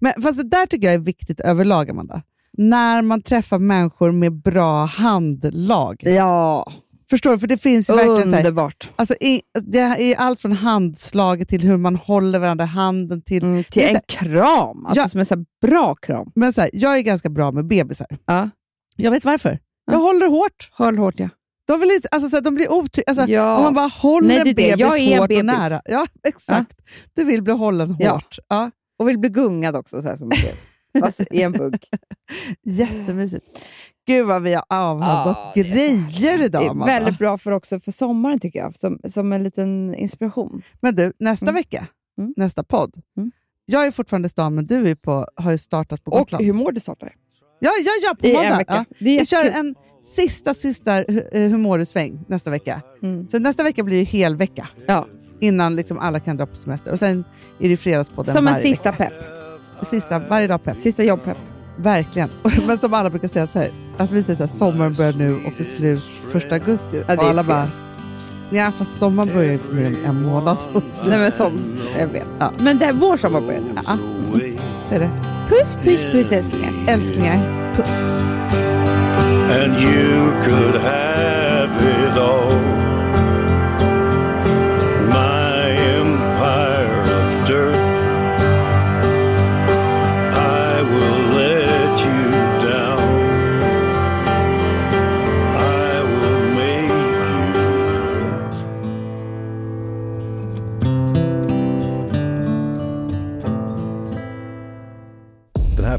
E: Men, fast det där tycker jag är viktigt överlag, Amanda. När man träffar människor med bra handlag.
F: Ja,
E: Förstår du? För det finns ju verkligen så här,
F: underbart.
E: alltså, i, det är allt från handslaget till hur man håller varandra i handen. Till,
F: Mm,
E: Det
F: till
E: är
F: en kram, alltså
E: Ja.
F: som en så här bra kram.
E: men så här, jag är ganska bra med bebisar.
F: Ja.
E: Jag vet varför.
F: Ja.
E: Jag håller hårt.
F: Håll hårt ja.
E: De, vill inte, alltså, så här, de blir otrygga. Alltså,
F: ja.
E: Om man bara håller
F: Nej, det är det.
E: bebis
F: Jag är en
E: hårt
F: bebis.
E: och nära. Ja, [laughs] exakt. Du vill bli hållen
F: Ja.
E: hårt. Ja.
F: Och vill bli gungad också, så här, som en
E: [laughs]
F: bebis. Fast i en bugg.
E: Jättemysigt. Gud vad vi har avhandlat
F: Ja, det är så
E: grejer
F: Det
E: idag,
F: är
E: Amanda.
F: väldigt bra för också för sommaren tycker jag, som, som en liten inspiration.
E: Men du, nästa
F: Mm.
E: vecka,
F: Mm.
E: nästa podd.
F: Mm.
E: Jag är fortfarande i stan, men du är på, har ju startat på
F: Och
E: Gotland.
F: hur mår du startar.
E: ja, ja, ja, på
F: I en
E: måndag. Ja.
F: vecka. Det är
E: Vi kör
F: jättekul.
E: en sista, sista eh, humorsväng nästa vecka.
F: Mm.
E: Så nästa vecka blir ju hel vecka.
F: Ja.
E: Innan liksom alla kan dra på semester. Och sen är det fredagspodden
F: Som en
E: varje
F: sista pepp.
E: Vecka. Sista, varje dag pepp.
F: Sista jobbpepp.
E: Verkligen. [laughs] Men som alla brukar säga så här, att vi säger så här, sommaren börjar nu och är slut första augusti.
F: Ja, det är
E: och alla
F: fel.
E: bara, ja fast sommaren börjar ju för mig om en månad. [laughs] Och så
F: Nej men som jag vet. Men det är vår sommar börjar nu.
E: Ja, så är det.
F: Puss, puss, puss älsklingar.
E: Älsklingar, puss.
I: and you could have it all. My empire of dirt, I will let you down. I will make you hurt.
J: Den här